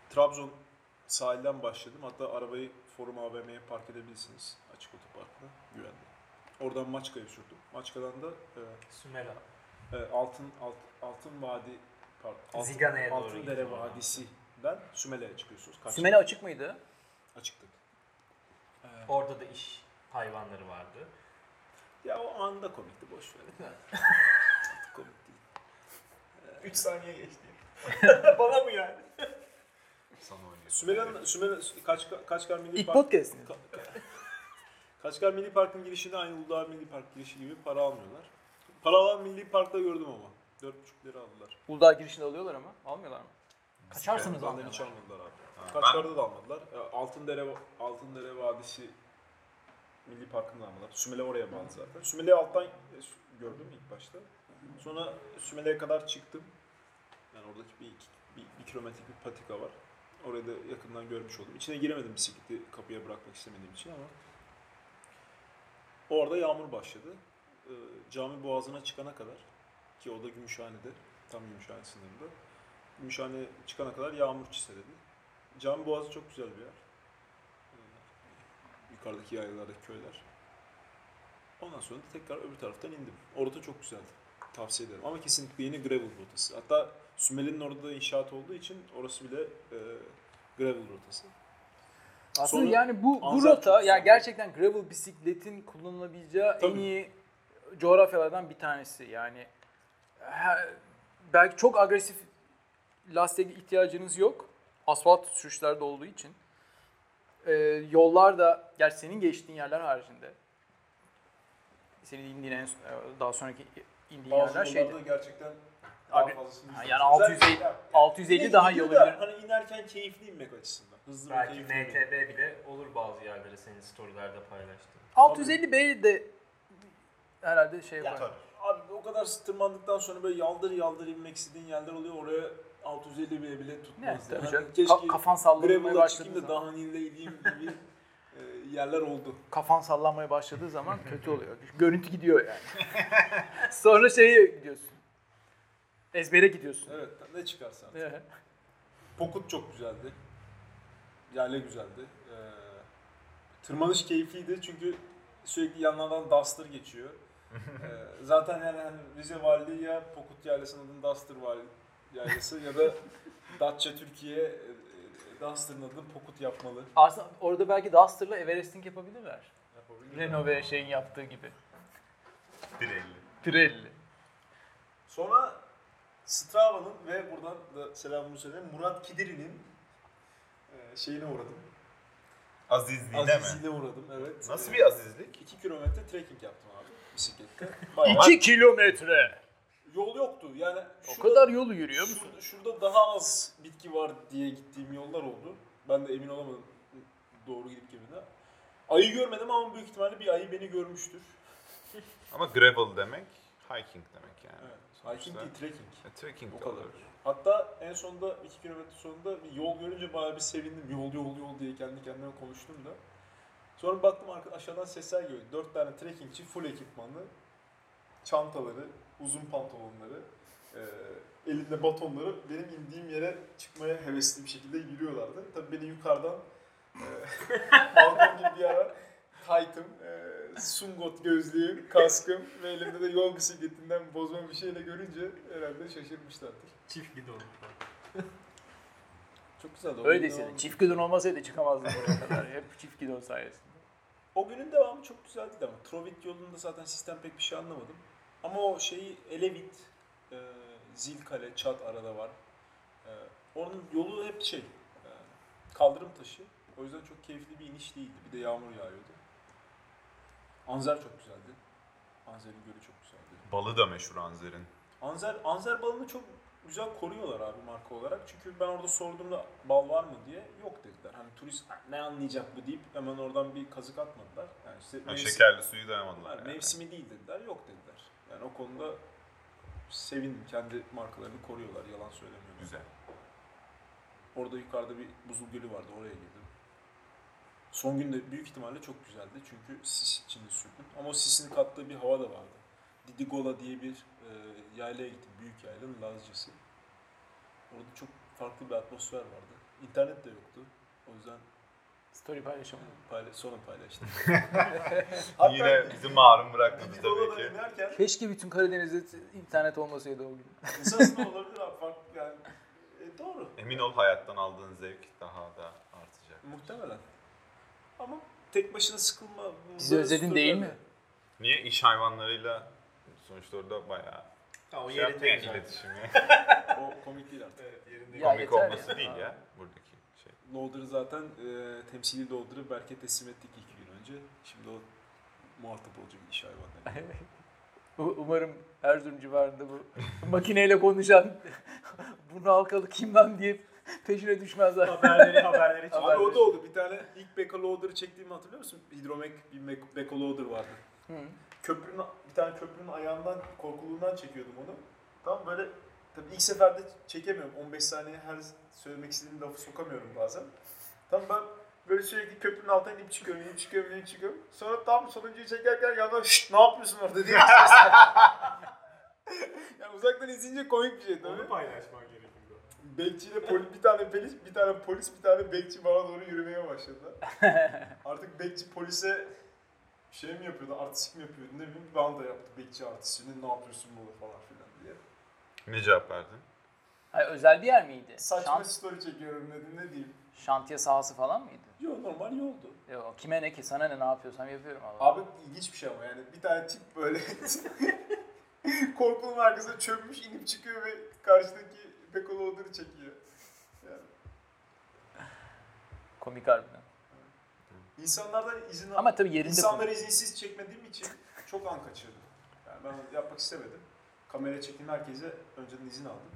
Speaker 5: Trabzon sahilden başladım. Hatta arabayı Forum AVM'ye park edebilirsiniz. Açık otoparkta. Güvenli. Oradan Maçka'ya sürdüm. Maçka'dan da e,
Speaker 6: Sümela.
Speaker 5: e, Altın Alt, Altın Vadi pardon, Altın,
Speaker 6: Zigana'ya doğru
Speaker 5: Altın Dere
Speaker 6: gidiyorsun.
Speaker 5: Vadisi'den Sümele'ye çıkıyorsunuz. Kaç
Speaker 4: Sümele açık mıydı?
Speaker 5: açıktı.
Speaker 6: Orada da iş hayvanları vardı.
Speaker 5: Ya o anda komikti boş ver. Artık komik değil.
Speaker 6: 3 saniye geçti. Bana mı yani?
Speaker 3: Sana oynuyor.
Speaker 5: Sümele'nin Sümele kaç Kaçkar Milli
Speaker 4: İlk
Speaker 5: Park
Speaker 4: podcast mi?
Speaker 5: Kaçkar Milli Park'ın girişinde aynı Uludağ Milli Park girişi gibi para almıyorlar. Para alan Milli Park'ta gördüm ama. 4,5 lira aldılar.
Speaker 4: Uludağ girişinde alıyorlar ama. Almıyorlar mı? Kaçarsınız
Speaker 5: Benden hiç
Speaker 4: alıyorlar.
Speaker 5: almadılar abi.
Speaker 3: Ha,
Speaker 5: Kaçkar'da da almadılar. E, Altındere, Altındere Vadisi Milli Parkı'nda almadılar. Sümele oraya bağlı zaten. Sümele'yi alttan e, sü- gördüm ilk başta. Sonra Sümele'ye kadar çıktım. Yani oradaki bir, iki, bir, bir kilometrelik bir patika var. Orayı da yakından görmüş oldum. İçine giremedim bisikleti kapıya bırakmak istemediğim için ama. Orada yağmur başladı. E, cami boğazına çıkana kadar ki o da Gümüşhane'de, tam Gümüşhane sınırında. Gümüşhane çıkana kadar yağmur çiseledi. Cami Boğazı çok güzel bir yer. Ee, Yukarıdaki yaylalardaki köyler. Ondan sonra da tekrar öbür taraftan indim. Orada çok güzeldi. Tavsiye ederim. Ama kesinlikle yine gravel rotası. Hatta Sümele'nin orada da inşaat olduğu için orası bile e, gravel rotası.
Speaker 4: Aslında
Speaker 5: Sonra
Speaker 4: yani bu, bu
Speaker 5: Anzak çok
Speaker 4: rota
Speaker 5: güzel.
Speaker 4: yani gerçekten gravel bisikletin kullanılabileceği en
Speaker 5: Tabii.
Speaker 4: iyi coğrafyalardan bir tanesi. Yani he- belki çok agresif lastiğe ihtiyacınız yok. Asfalt sürüşlerde olduğu için. Ee, yollar da gerçi senin geçtiğin yerler haricinde. Senin indiğin en, daha sonraki indiğin yerler
Speaker 5: Bazı
Speaker 4: şeydi.
Speaker 5: yollarda gerçekten daha
Speaker 4: Agre-
Speaker 5: fazlasını
Speaker 4: şey- Ha,
Speaker 5: izledim.
Speaker 4: yani
Speaker 5: Güzel
Speaker 4: 650
Speaker 5: şeyler.
Speaker 4: 650 daha iyi
Speaker 5: Gidiyor
Speaker 4: olabilir.
Speaker 5: da Hani inerken keyifli inmek açısından. Hızlı ve
Speaker 6: Belki
Speaker 5: keyifli inmek.
Speaker 6: MTB bile olur bazı yerlere senin storylerde paylaştığın.
Speaker 4: 650 B de herhalde şey yapar.
Speaker 5: Abi o kadar tırmandıktan sonra böyle yaldır yaldır inmek istediğin yerler oluyor. Oraya 650 bile bile
Speaker 4: Ne,
Speaker 5: tutmaz.
Speaker 4: tabii
Speaker 5: yani. Hani
Speaker 4: canım.
Speaker 5: Keşke
Speaker 4: Ka- kafan sallamaya
Speaker 5: Gravel'da
Speaker 4: başladığı
Speaker 5: çıkayım da
Speaker 4: zaman.
Speaker 5: daha inle ineyim gibi e, yerler oldu.
Speaker 4: Kafan sallanmaya başladığı zaman kötü oluyor. Görüntü gidiyor yani. Sonra şeye gidiyorsun. Ezbere gidiyorsun.
Speaker 5: Evet ne çıkarsa. artık.
Speaker 4: Evet.
Speaker 5: Pokut çok güzeldi. Yerle güzeldi. Ee, tırmanış keyifliydi çünkü sürekli yanlardan Duster geçiyor. Ee, zaten yani hani Rize Valiliği ya Pokut Yaylası'nın adını Duster Vali Yaylası ya da Datça Türkiye e, e, Duster'ın adını Pokut yapmalı.
Speaker 4: Aslında orada belki Duster'la Everesting yapabilirler.
Speaker 5: Yapabilir.
Speaker 4: Renove şeyin yaptığı gibi.
Speaker 3: 1.50.
Speaker 4: Pirelli.
Speaker 5: Sonra Strava'nın ve buradan da selamımı söyleyeyim Murat Kidiri'nin e, şeyine uğradım.
Speaker 3: Azizliğine mi?
Speaker 5: Azizliğine uğradım evet.
Speaker 3: Nasıl
Speaker 5: Ee,
Speaker 3: bir azizlik?
Speaker 5: 2 kilometre trekking yaptım abi bisiklette.
Speaker 4: 2 kilometre.
Speaker 5: Yol yoktu yani.
Speaker 4: O kadar yolu yürüyor musun?
Speaker 5: şurada, şurada daha az bitki var diye gittiğim yollar oldu. Ben de emin olamadım doğru gidip girmeden. Ayı görmedim ama büyük ihtimalle bir ayı beni görmüştür.
Speaker 3: Ama gravel demek Hiking demek yani.
Speaker 5: Evet. Hiking değil, trekking.
Speaker 3: E, trekking
Speaker 5: O
Speaker 3: de
Speaker 5: kadar.
Speaker 3: olur.
Speaker 5: Hatta en sonunda 2 kilometre sonunda bir yol görünce bayağı bir sevindim. Yol yol yol diye kendi kendime konuştum da. Sonra baktım arka, aşağıdan sesler geliyor. 4 tane trekkingçi full ekipmanlı. Çantaları, uzun pantolonları, eee elinde batonları benim indiğim yere çıkmaya hevesli bir şekilde yürüyorlardı. Tabii beni yukarıdan eee balkon gibi bir yer taytım, eee e, sungot gözlüğüm, kaskım ve elimde de yol bisikletinden bozma bir şeyle görünce herhalde şaşırmışlardır.
Speaker 6: Çift gidi olmuşlar.
Speaker 5: Çok güzeldi. O
Speaker 4: Öyle
Speaker 5: günün
Speaker 4: desene.
Speaker 5: devamı-
Speaker 4: Çift gidon olmasaydı çıkamazdım buraya kadar. Hep çift gidon sayesinde.
Speaker 5: O günün devamı çok güzeldi de ama Trovit yolunda zaten sistem pek bir şey anlamadım. Ama o şeyi Elevit, e, Zilkale, Çat arada var. E, onun yolu hep şey, e, kaldırım taşı. O yüzden çok keyifli bir iniş değildi. Bir de yağmur yağıyordu. Anzer çok güzeldi. Anzer'in gölü çok güzeldi.
Speaker 3: Balı da meşhur Anzer'in.
Speaker 5: Anzer, Anzer balını çok güzel koruyorlar abi marka olarak. Çünkü ben orada sorduğumda bal var mı diye yok dediler. Hani turist ne anlayacak bu deyip hemen oradan bir kazık atmadılar. Yani işte
Speaker 3: Ha,
Speaker 5: mevsim-
Speaker 3: şekerli suyu dayamadılar.
Speaker 5: yani
Speaker 3: Yani.
Speaker 5: mevsimi değil dediler, yok dediler. Yani o konuda sevindim. Kendi markalarını koruyorlar, yalan söylemiyorlar.
Speaker 3: Güzel.
Speaker 5: Orada yukarıda bir buzul gölü vardı, oraya girdim. Son gün de büyük ihtimalle çok güzeldi çünkü sis içinde sürdüm. Ama o sisini kattığı bir hava da vardı. Didigola diye bir e, yaylaya gittim, büyük yaylanın Lazcası. Orada çok farklı bir atmosfer vardı. İnternet de yoktu. O yüzden
Speaker 4: Story paylaşamadım.
Speaker 5: payla- sonra paylaştım.
Speaker 3: Yine bizi mağrur bırakmadı tabii
Speaker 5: Didygola'dan
Speaker 3: ki.
Speaker 5: inerken
Speaker 4: Keşke bütün Karadeniz'de t- internet olmasaydı o gün.
Speaker 5: esasında olabilir abi farklı yani. E, doğru.
Speaker 3: Emin ol hayattan aldığın zevk daha da artacak.
Speaker 5: Muhtemelen. Ama tek başına sıkılma.
Speaker 4: Bizi özledin değil mi?
Speaker 3: Niye iş hayvanlarıyla sonuçta orada bayağı
Speaker 6: Ha, o
Speaker 3: şey
Speaker 6: yerinde
Speaker 3: yaptı yani
Speaker 6: güzel.
Speaker 3: iletişimi.
Speaker 5: O komik değil artık.
Speaker 6: Evet, yerinde
Speaker 4: Ya
Speaker 3: Komik
Speaker 4: yeter ya.
Speaker 3: olması değil ya buradaki şey.
Speaker 5: Loader'ı zaten e, temsili Loader'ı Berk'e teslim ettik iki gün önce. Şimdi o muhatap olacak iş hayvanları.
Speaker 4: U- Umarım Erzurum civarında bu makineyle konuşan burnu halkalı kim lan diye peşine düşmezler.
Speaker 6: Haberleri haberleri
Speaker 5: Abi
Speaker 6: çıkıyor.
Speaker 5: o da oldu. Bir tane ilk Beko Loader'ı çektiğimi hatırlıyor musun? Hidromek bir Beko- Beko Loader vardı.
Speaker 4: Hı.
Speaker 5: Köprünün, bir tane köprünün ayağından, korkuluğundan çekiyordum onu. Tam böyle tabii ilk seferde çekemiyorum. 15 saniye her söylemek istediğim lafı sokamıyorum bazen. Tam ben böyle sürekli köprünün altına inip çıkıyorum, inip çıkıyorum, inip çıkıyorum. Sonra tam sonuncuyu çekerken yandan şşt ne yapıyorsun orada diye bir ses. yani uzaktan izleyince komik bir şey tabii.
Speaker 6: Onu paylaşman gerekiyor.
Speaker 5: Bekçiyle poli- bir tane polis, bir tane polis, bir tane bekçi bana doğru yürümeye başladı. Artık bekçi polise şey mi yapıyordu, artistik mi yapıyordu ne bileyim ben de yaptı bekçi artistini ne yapıyorsun burada falan filan diye.
Speaker 3: Ne cevap verdin?
Speaker 4: Hayır, özel bir yer miydi?
Speaker 5: Saçma
Speaker 4: Şant-
Speaker 5: story çekiyorum dedim ne diyeyim.
Speaker 4: şantiye sahası falan mıydı?
Speaker 5: Yo normal yoldu.
Speaker 4: Yok, kime ne ki sana ne ne yapıyorsam yapıyorum abi.
Speaker 5: Abi ilginç bir şey ama yani bir tane tip böyle korkunun arkasına çökmüş inip çıkıyor ve karşıdaki Bekolo Odur'u çekiyor. Yani
Speaker 4: Komik harbiden.
Speaker 5: insanlardan izin
Speaker 4: Ama tabii yerinde
Speaker 5: İnsanları izinsiz çekmediğim için çok an kaçırdım. Yani ben onu yapmak istemedim. Kamera çekim herkese önceden izin aldım.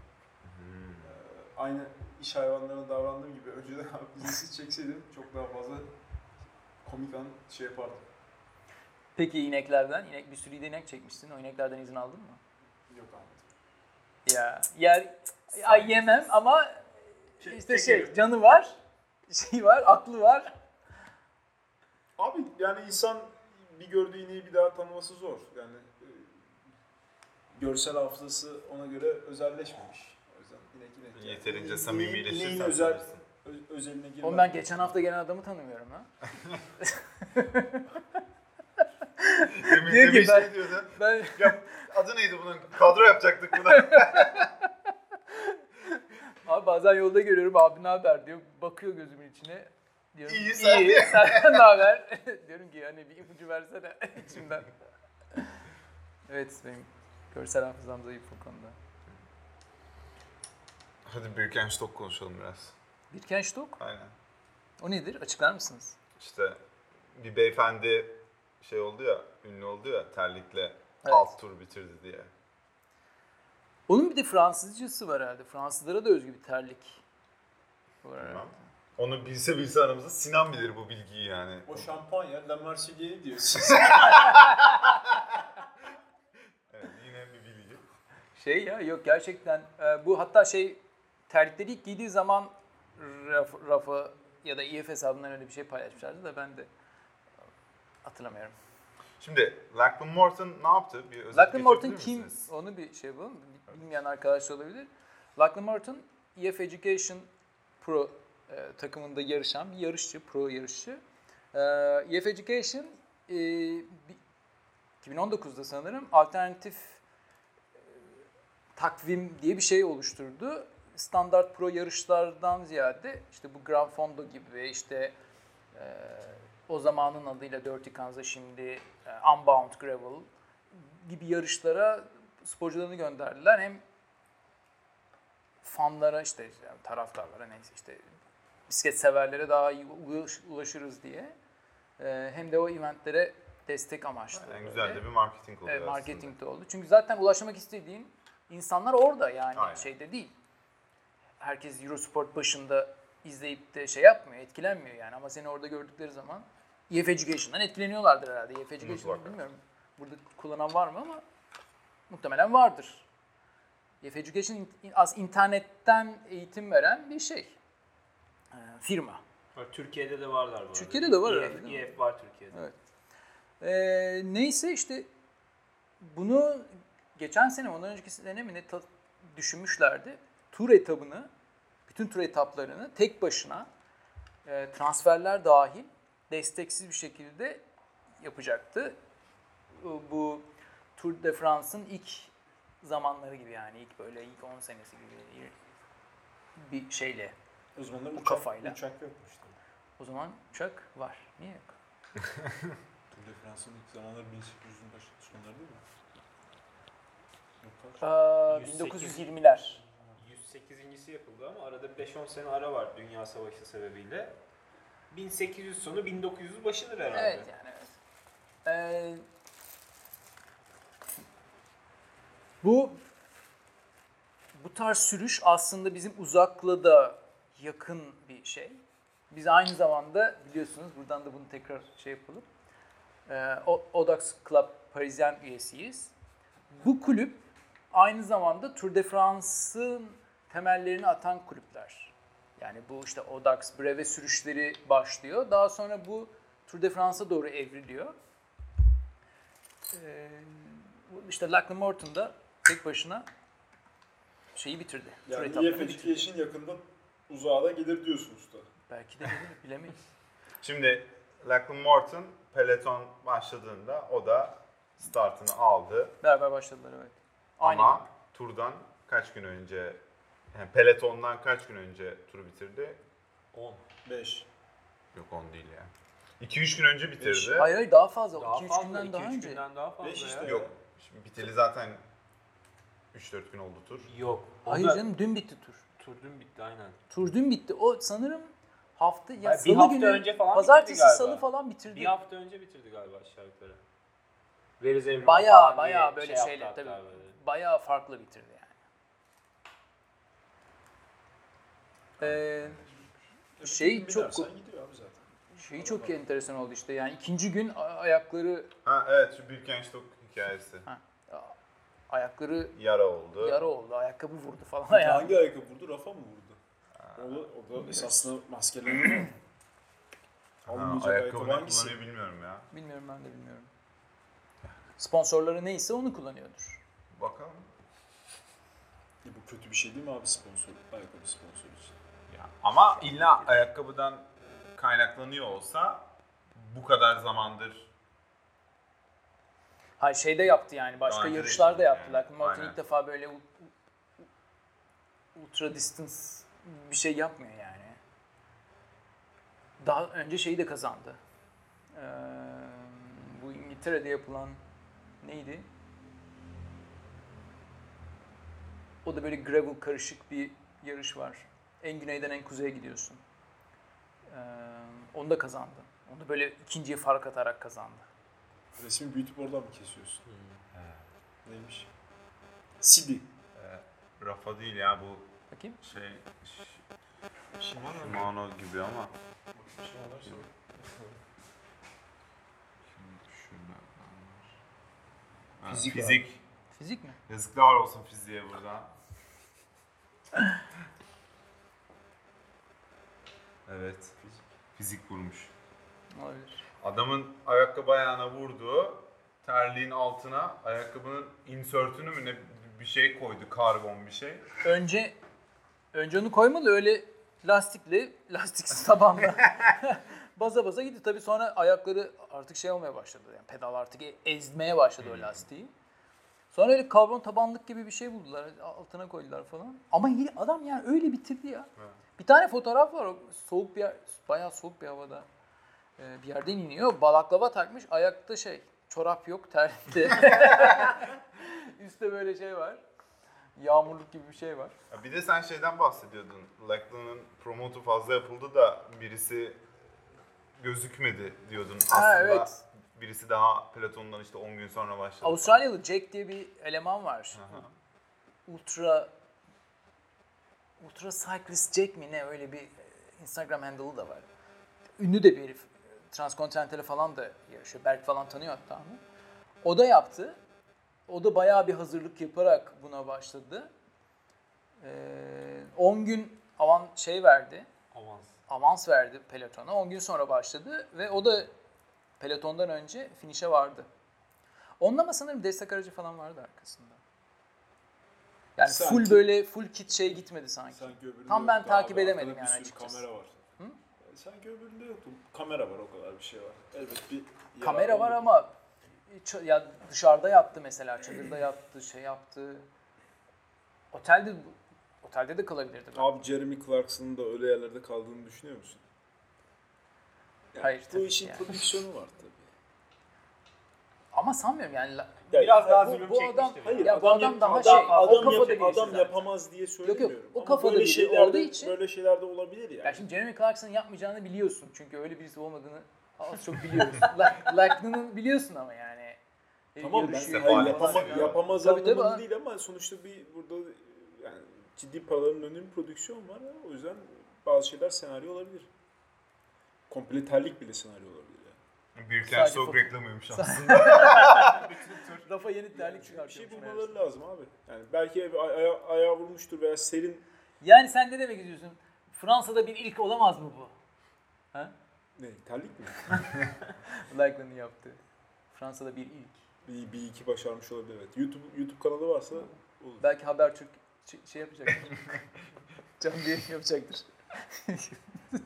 Speaker 4: Hmm.
Speaker 5: Ee, aynı iş hayvanlarına davrandığım gibi önceden izinsiz çekseydim çok daha fazla komik an şey yapardım.
Speaker 4: Peki ineklerden? İnek, bir sürü de inek çekmişsin. O ineklerden izin aldın mı?
Speaker 5: Yok anladım.
Speaker 4: Ya yer ay yemem ama
Speaker 6: Şey,
Speaker 4: işte şey
Speaker 6: çekiyorum.
Speaker 4: canı var, şey var, aklı var.
Speaker 5: Abi yani insan bir gördüğü ineği bir daha tanıması zor. Yani e, görsel hafızası ona göre özelleşmemiş. O yüzden inek inek. yani.
Speaker 3: Yeterince
Speaker 5: İneğin-
Speaker 3: samimileşirsen
Speaker 5: ineğin özel,
Speaker 3: tanırsın.
Speaker 5: ö- özeline girmem.
Speaker 4: Oğlum ben geçen hafta gelen adamı tanımıyorum ha.
Speaker 3: Demin,
Speaker 4: Diyor
Speaker 3: demin
Speaker 4: ki
Speaker 3: şey
Speaker 4: ben-
Speaker 3: diyordu.
Speaker 4: Ben
Speaker 3: Ya, adı neydi bunun? Kadro yapacaktık buna.
Speaker 4: abi bazen yolda görüyorum abi ne haber diyor. Bakıyor gözümün içine. Diyorum,
Speaker 3: İyi, sen
Speaker 4: iyi, senden ne haber? diyorum ki hani bir ipucu versene içimden. evet benim görsel hafızam zayıf bu konuda.
Speaker 3: Hadi Birkenstock konuşalım biraz.
Speaker 4: Birkenstock
Speaker 3: Aynen.
Speaker 4: o nedir? Açıklar mısınız?
Speaker 3: İşte bir beyefendi şey oldu ya, ünlü oldu ya terlikle
Speaker 4: Evet.
Speaker 3: alt tur bitirdi diye.
Speaker 4: Onun bir de Fransızcası var herhalde. Fransızlara da özgü bir terlik. Var herhalde.
Speaker 3: Tamam. Onu bilse bilse aramızda Sinan bilir bu bilgiyi yani.
Speaker 5: O şampanya La Marseillaise'i diyorsun.
Speaker 3: Evet, yine
Speaker 4: Şey ya yok gerçekten e, bu hatta şey terlikleri ilk giydiği zaman raf- rafa ya da EF hesabından öyle bir şey paylaşmışlardı da ben de e, hatırlamıyorum.
Speaker 3: Şimdi Lachlan Morton ne yaptı? Bir özet
Speaker 4: Lachlan Morton
Speaker 3: geçebilir
Speaker 4: kim?
Speaker 3: misiniz?
Speaker 4: Onu bir şey yapalım. Bilmeyen arkadaş olabilir. Lachlan Morton EF Education Pro e, takımında yarışan bir yarışçı, pro yarışçı. E, EF Education e, bi- 2019'da sanırım alternatif e, takvim diye bir şey oluşturdu. Standart pro yarışlardan ziyade işte bu Gran Fondo gibi işte e, o zamanın adıyla Dirty Kansas şimdi e, Unbound Gravel gibi yarışlara sporcularını gönderdiler. Hem fanlara işte yani taraftarlara neyse işte bisiklet severlere daha iyi ulaş- ulaşırız diye e, hem de o eventlere destek amaçlı.
Speaker 3: Yani
Speaker 4: böyle.
Speaker 3: güzel de bir marketing oluyor
Speaker 4: Evet,
Speaker 3: aslında.
Speaker 4: marketing de oldu. Çünkü zaten ulaşmak istediğin insanlar orada yani
Speaker 3: Aynen.
Speaker 4: şeyde değil. Herkes Eurosport başında izleyip de şey yapmıyor, etkilenmiyor yani. Ama seni orada gördükleri zaman EF Education'dan etkileniyorlardır herhalde. EF Education'ı
Speaker 3: Mutlaka.
Speaker 4: bilmiyorum. Burada kullanan var mı ama muhtemelen vardır. EF Education in- as internetten eğitim veren bir şey. Ee, Firma.
Speaker 6: Var, Türkiye'de de varlar bu arada. E
Speaker 4: Türkiye'de de var
Speaker 6: EF
Speaker 4: herhalde, değil mi?
Speaker 6: EF var Türkiye'de.
Speaker 4: Evet. Ee, neyse işte bunu geçen sene ondan önceki sene mi ne ta- düşünmüşlerdi. Tur etabını, bütün tur etaplarını tek başına e, transferler dahil desteksiz bir şekilde yapacaktı. Bu- Bu Tour de France'ın ilk zamanları gibi yani ilk böyle ilk 10 senesi gibi bir şeyle
Speaker 5: Uzmanlar
Speaker 4: uçak- kafayla.
Speaker 5: uçak yokmuş tabii.
Speaker 4: o zaman uçak var. Niye yok?
Speaker 5: Tour de France'ın ilk zamanları 1800'ün başı sonları değil mi? Yok, kaç?
Speaker 4: Aa,
Speaker 6: 108.
Speaker 4: 1920'ler.
Speaker 6: 108.si yapıldı ama arada 5-10 sene ara var Dünya Savaşı sebebiyle. 1800 sonu 1900 başıdır herhalde.
Speaker 4: Evet yani evet. Ee, bu bu tarz sürüş aslında bizim uzakla da yakın bir şey. Biz aynı zamanda biliyorsunuz buradan da bunu tekrar şey yapalım. Ee, O- Odax Club Parisien üyesiyiz. Bu kulüp aynı zamanda Tour de France'ın temellerini atan kulüpler. Yani bu işte Odax Breve sürüşleri başlıyor. Daha sonra bu Tour de France'a doğru evriliyor. Ee, bu işte Lachlan Morton da tek başına şeyi bitirdi. Tur
Speaker 7: Yani
Speaker 4: etaplarını
Speaker 7: EF
Speaker 4: bitirdi.
Speaker 7: Education yakında uzağa da gelir diyorsun usta.
Speaker 4: Belki de bilir, bilemeyiz.
Speaker 3: Şimdi Lachlan Morton peloton başladığında o da startını aldı.
Speaker 4: Beraber başladılar evet. Aynı
Speaker 3: Ama turdan kaç gün önce yani pelotondan kaç gün önce turu bitirdi?
Speaker 7: 5.
Speaker 3: Yok 10 değil ya. 2-3 gün önce bitirdi.
Speaker 4: gün. Hayır hayır daha fazla.
Speaker 6: Daha
Speaker 4: 2-3
Speaker 6: fazla,
Speaker 4: günden daha
Speaker 6: 2-3
Speaker 4: önce.
Speaker 6: günden daha fazla
Speaker 7: Beş
Speaker 6: ya.
Speaker 7: işte.
Speaker 3: Yok. Şimdi biteli zaten 3-4 gün oldu tur.
Speaker 6: Yok.
Speaker 4: Hayır
Speaker 6: Onda
Speaker 4: canım dün bitti tur.
Speaker 6: tur dün bitti aynen.
Speaker 4: Tur dün bitti. O sanırım hafta ya
Speaker 6: Hayır, bir
Speaker 4: salı
Speaker 6: hafta
Speaker 4: günü
Speaker 6: önce falan
Speaker 4: pazartesi
Speaker 6: bitirdi galiba.
Speaker 4: salı falan bitirdi.
Speaker 6: Bir hafta önce bitirdi galiba aşağı yukarı. Veriz Emre şey
Speaker 4: Baya baya böyle şeyle tabii. Baya farklı bitirdi yani. Ee, şey çok
Speaker 7: gidiyor abi zaten.
Speaker 4: şeyi çok enteresan oldu işte yani ikinci gün a- ayakları
Speaker 3: Ha evet şu Birkenstock hikayesi.
Speaker 4: ayakları
Speaker 3: Yara oldu.
Speaker 4: yara oldu ayakkabı vurdu falan yani.
Speaker 7: Hangi ayakkabı vurdu? Rafa mı vurdu? O da, o da esasında maskelenmiyor.
Speaker 3: Ha,
Speaker 7: Alınmayacak
Speaker 3: ayakkabı
Speaker 7: ayakkabı
Speaker 3: ne
Speaker 7: hangisi?
Speaker 3: kullanıyor bilmiyorum ya.
Speaker 4: Bilmiyorum ben de bilmiyorum. Sponsorları neyse onu kullanıyordur.
Speaker 3: Bakalım.
Speaker 7: E Bu kötü bir şey değil mi abi sponsor? Ayakkabı sponsoru için.
Speaker 3: Ama illa ayakkabıdan kaynaklanıyor olsa bu kadar zamandır
Speaker 4: Hayır şeyde yaptı yani başka
Speaker 3: önce de
Speaker 4: yarışlarda
Speaker 3: işte
Speaker 4: yaptı.
Speaker 3: yani.
Speaker 4: Lachlan Martin
Speaker 3: Aynen.
Speaker 4: ilk defa böyle u- u- ultra distance bir şey yapmıyor yani. Daha önce şeyi de kazandı. Ee, bu İngiltere'de yapılan neydi? O da böyle gravel karışık bir yarış var. En güneyden en kuzeye gidiyorsun. Ee, onu da kazandı. Onu da böyle ikinciye fark atarak kazandı.
Speaker 7: Resmi büyütüp oradan mı kesiyorsun? Neymiş? Sidi.
Speaker 3: e, Rafa değil ya bu
Speaker 4: Bakayım.
Speaker 3: şey Ş- Shimano gibi ama
Speaker 5: şey
Speaker 3: Şimdi şurada var. Ha,
Speaker 7: Fizik
Speaker 3: fizik.
Speaker 4: Fizik mi?
Speaker 3: Yazıklar olsun fiziğe buradan. evet. Fizik vurmuş.
Speaker 4: Olabilir.
Speaker 3: Adamın ayakkabı ayağına vurduğu terliğin altına ayakkabının insertünü mü ne bir şey koydu karbon bir şey.
Speaker 4: Önce önce onu koymalı öyle lastikli, lastiksiz tabanla baza baza gitti. Tabii sonra ayakları artık şey olmaya başladı. Yani pedal artık e- ezmeye başladı o lastiği. Sonra öyle karbon tabanlık gibi bir şey buldular. Altına koydular falan. Ama yine adam yani öyle bitirdi ya. Bir tane fotoğraf var. o Soğuk bir yer, bayağı soğuk bir havada. e, bir yerden iniyor. Balaklava takmış. Ayakta şey, çorap yok, terlikte. Üstte böyle şey var. Yağmurluk gibi bir şey var.
Speaker 3: Ya bir de sen şeyden bahsediyordun. Lachlan'ın promotu fazla yapıldı da birisi gözükmedi diyordun aslında.
Speaker 4: evet.
Speaker 3: Birisi daha Platon'dan işte 10 gün sonra başladı. falan.
Speaker 4: Avustralyalı Jack diye bir eleman var. Ultra Ultra Cyclist Jack mi ne öyle bir e, Instagram handle'ı da var. Ünlü de bir herif. Transkontinental'e falan da yarışıyor. Berk falan tanıyor hatta onu. O da yaptı. O da bayağı bir hazırlık yaparak buna başladı. Ee, 10 gün avan şey verdi.
Speaker 6: Avans.
Speaker 4: avans verdi pelotona. 10 gün sonra başladı ve o da pelotondan önce finişe vardı. Onun ama sanırım destek aracı falan vardı arkasında. Yani
Speaker 5: Sanki.
Speaker 4: full böyle full kit şey gitmedi sanki.
Speaker 5: Sanki öbüründe
Speaker 4: Tam ben
Speaker 5: yoktu
Speaker 4: takip
Speaker 5: abi.
Speaker 4: edemedim
Speaker 5: Arkada
Speaker 4: yani
Speaker 5: bir sürü
Speaker 4: açıkçası.
Speaker 5: kamera var. E, Hı? Sanki öbüründe yoktu. Kamera var o kadar bir şey var. Elbet bir yalan
Speaker 4: Kamera var
Speaker 5: olmadı.
Speaker 4: ama ç- ya dışarıda yattı mesela. Çadırda yattı, şey yaptı. Otelde otelde de kalabilirdi. belki.
Speaker 5: Abi Jeremy Clarkson'ın da öyle yerlerde kaldığını düşünüyor musun? Yani
Speaker 4: Hayır,
Speaker 5: Bu
Speaker 4: tabii
Speaker 5: işin
Speaker 4: ki yani.
Speaker 5: prodüksiyonu var tabii.
Speaker 4: Ama sanmıyorum yani. la-
Speaker 5: Ya
Speaker 6: Biraz daha
Speaker 4: bu-
Speaker 6: zulüm
Speaker 4: bu adam-
Speaker 6: çekmiştir.
Speaker 4: hayır,
Speaker 6: yani.
Speaker 4: Ya bu adam
Speaker 5: yap-
Speaker 4: daha
Speaker 5: adam,
Speaker 4: şey, o
Speaker 5: adam,
Speaker 4: kafada
Speaker 5: yap-
Speaker 4: birisi
Speaker 5: adam
Speaker 4: zaten.
Speaker 5: yapamaz diye söylemiyorum.
Speaker 4: o
Speaker 5: Ama
Speaker 4: kafada
Speaker 5: böyle
Speaker 4: biri
Speaker 5: şeylerde-
Speaker 4: olduğu için-
Speaker 5: Böyle şeylerde olabilir yani.
Speaker 4: Ya şimdi Jeremy Clarkson yapmayacağını biliyorsun. Çünkü öyle birisi olmadığını az çok biliyoruz. Lackland'ın biliyorsun ama yani. E,
Speaker 5: tamam ben
Speaker 4: Yarışıyor,
Speaker 5: hayır,
Speaker 3: falan.
Speaker 5: yapama,
Speaker 3: Tabii,
Speaker 5: yapamaz
Speaker 4: tabii,
Speaker 5: anlamında
Speaker 4: tabii.
Speaker 5: değil ama sonuçta bir burada yani ciddi paraların önünde bir prodüksiyon var. ya, O yüzden bazı şeyler senaryo olabilir. Komple terlik bile senaryo olabilir. Yani.
Speaker 3: Büyükler
Speaker 4: Sadece
Speaker 3: soğuk
Speaker 4: foto-
Speaker 3: reklamıymış aslında.
Speaker 4: Rafa yeni terlik
Speaker 5: Bir şey
Speaker 4: çıkartıyormuş. meğerse.
Speaker 5: bulmaları lazım abi. Yani belki ev- aya- ayağı vurmuştur veya serin
Speaker 4: Yani sen ne demek istiyorsun? Fransa'da bir ilk olamaz mı bu?
Speaker 5: ne terlik mi?
Speaker 4: Lackland'ın yaptığı. Fransa'da bir ilk.
Speaker 5: bir, bir iki başarmış olabilir evet. YouTube YouTube kanalı varsa olur.
Speaker 4: Belki Habertürk ş- şey yapacaktır. Can diye yapacaktır.
Speaker 5: Şimdi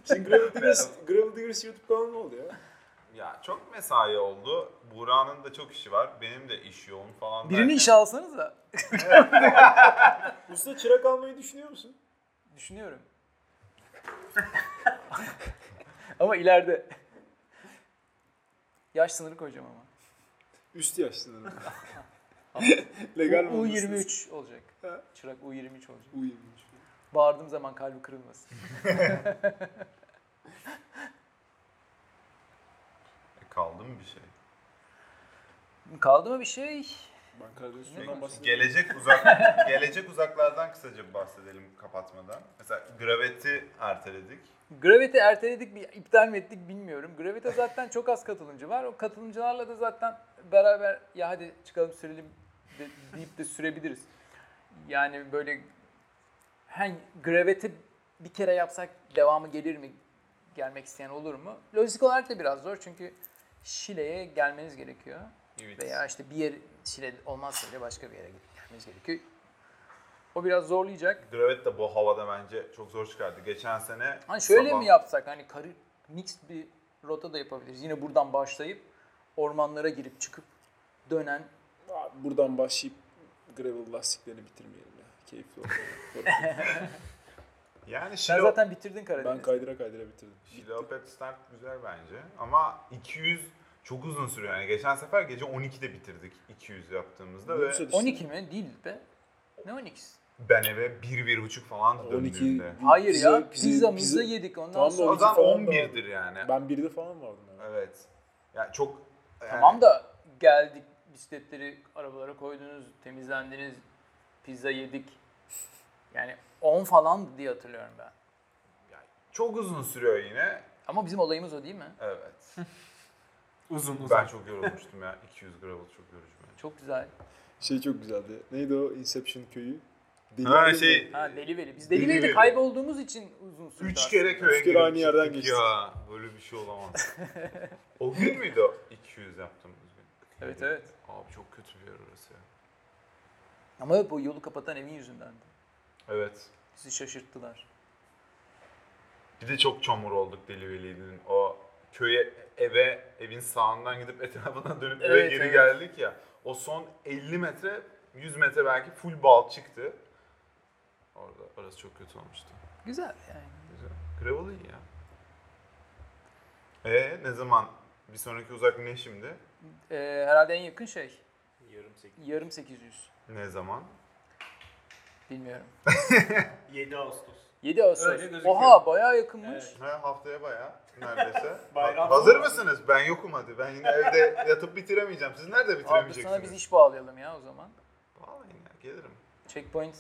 Speaker 5: Şey, Gravel Diggers, Gravel Diggers YouTube kanalı ne oldu ya?
Speaker 3: Ya çok mesai oldu. Buğra'nın da çok işi var. Benim de iş yoğun falan.
Speaker 4: Birini
Speaker 3: derken-
Speaker 4: işe alsanız da.
Speaker 5: Usta çırak almayı düşünüyor musun?
Speaker 4: Düşünüyorum. ama ileride. Yaş sınırı koyacağım ama.
Speaker 5: Üst yaş sınırı. Legal mi
Speaker 4: U-
Speaker 5: olması?
Speaker 4: U23 olacak.
Speaker 5: Ha.
Speaker 4: Çırak U23 olacak.
Speaker 5: U23.
Speaker 4: Bağırdığım zaman kalbi kırılmasın.
Speaker 3: E, kaldı mı bir şey?
Speaker 4: Kaldı mı bir şey?
Speaker 5: Ben Karadeniz
Speaker 4: Ne
Speaker 5: Su'dan bahsediyorum.
Speaker 3: Gelecek uzak gelecek uzaklardan kısaca bir bahsedelim kapatmadan. Mesela graveti erteledik.
Speaker 4: Gravity erteledik mi, iptal mi ettik bilmiyorum. Gravity'e zaten çok az katılımcı var. O katılımcılarla da zaten beraber ya hadi çıkalım sürelim de- deyip de sürebiliriz. Yani böyle hani Gravity bir kere yapsak devamı gelir mi? Gelmek isteyen olur mu? Lojistik olarak da biraz zor çünkü Şile'ye gelmeniz gerekiyor. Veya işte bir yer Şile olmazsa bile başka bir yere gidip gelmeniz gerekiyor. O biraz zorlayacak.
Speaker 3: Gravet de bu havada bence çok zor çıkardı. Geçen sene
Speaker 4: Hani şöyle
Speaker 3: sabah-
Speaker 4: mi yapsak hani karı mix bir rota da yapabiliriz. Yine buradan başlayıp ormanlara girip çıkıp dönen
Speaker 5: Abi Buradan başlayıp gravel lastiklerini bitirmeyelim ya. Keyifli olur.
Speaker 3: Yani şey
Speaker 4: sen
Speaker 3: Şilo,
Speaker 4: zaten bitirdin
Speaker 5: ben
Speaker 4: Karadeniz.
Speaker 5: kaydıra kaydıra bitirdim.
Speaker 3: Şilo Pep Start güzel bence. Ama 200 çok uzun sürüyor. Yani geçen sefer gece 12'de bitirdik 200 yaptığımızda ve
Speaker 5: Yoksa düşün-
Speaker 4: 12 mi? Değil be. Ne 12'si?
Speaker 3: ben eve 1-1,5 falan
Speaker 5: 12
Speaker 3: döndüğümde.
Speaker 4: Hayır ya.
Speaker 5: Pizza- pizza-
Speaker 4: Pizza
Speaker 5: pizza-
Speaker 4: mizza yedik ondan
Speaker 5: Tamam da
Speaker 4: sonra.
Speaker 3: O
Speaker 5: 12
Speaker 3: zaman
Speaker 5: falan da
Speaker 3: 11'dir yani.
Speaker 5: Ben birde falan vardım ya.
Speaker 3: Evet. Yani çok yani
Speaker 4: Tamam da geldik bisikletleri arabalara koydunuz, temizlendiniz, pizza yedik. Yani 10 falan diye hatırlıyorum ben.
Speaker 3: çok uzun sürüyor yine.
Speaker 4: Ama bizim olayımız o değil mi?
Speaker 3: Evet.
Speaker 8: Uzun uzun.
Speaker 3: Ben çok yorulmuştum ya. 200 gravel çok yorucu bence.
Speaker 4: Çok güzel.
Speaker 5: Şey çok güzeldi. Neydi o Inception köyü? Deli
Speaker 3: Ha
Speaker 5: Deli
Speaker 3: şey
Speaker 4: Ha Deliveli. Biz
Speaker 3: Deli
Speaker 4: Deliveli'de
Speaker 3: Veli.
Speaker 4: kaybolduğumuz için uzun sürdü.
Speaker 3: 3 kere
Speaker 4: aslında.
Speaker 3: köye
Speaker 5: Üç kere
Speaker 3: girip
Speaker 5: aynı yerden
Speaker 3: çıktık
Speaker 5: geçtik.
Speaker 3: Ya böyle bir şey olamaz. o gün müydü o? 200 yaptığımız gün.
Speaker 4: Evet evet.
Speaker 3: Abi çok kötü bir yer orası ya.
Speaker 4: Ama hep o yolu kapatan evin yüzünden.
Speaker 3: Evet.
Speaker 4: Bizi şaşırttılar.
Speaker 3: Bir de çok çamur olduk Deli Veli'nin. O köye eve evin sağından gidip etrafından dönüp eve
Speaker 4: Evet,
Speaker 3: geri
Speaker 4: evet.
Speaker 3: geldik ya. O son 50 metre 100 metre belki full bal çıktı. Orada orası çok kötü olmuştu.
Speaker 4: Güzel yani.
Speaker 3: Güzel. Gravel iyi ya. E ne zaman? Bir sonraki uzak ne şimdi?
Speaker 4: Ee, herhalde en yakın şey.
Speaker 6: Yarım sekiz.
Speaker 4: Yarım 800.
Speaker 3: Ne zaman?
Speaker 4: Bilmiyorum.
Speaker 6: 7 Ağustos.
Speaker 4: 7 Ağustos.
Speaker 6: Öyle gözüküyor.
Speaker 4: Oha bayağı yakınmış.
Speaker 6: Evet.
Speaker 3: Ha, haftaya bayağı neredeyse.
Speaker 6: Bayram
Speaker 3: Ha- Hazır
Speaker 6: sonu.
Speaker 3: mısınız? Ben yokum hadi. Ben yine evde yatıp bitiremeyeceğim. Siz nerede
Speaker 4: Abi sana biz
Speaker 3: bitiremeyeceksiniz?
Speaker 4: iş bağlayalım ya o zaman.
Speaker 3: Vallahi ya, gelirim.
Speaker 4: Checkpoint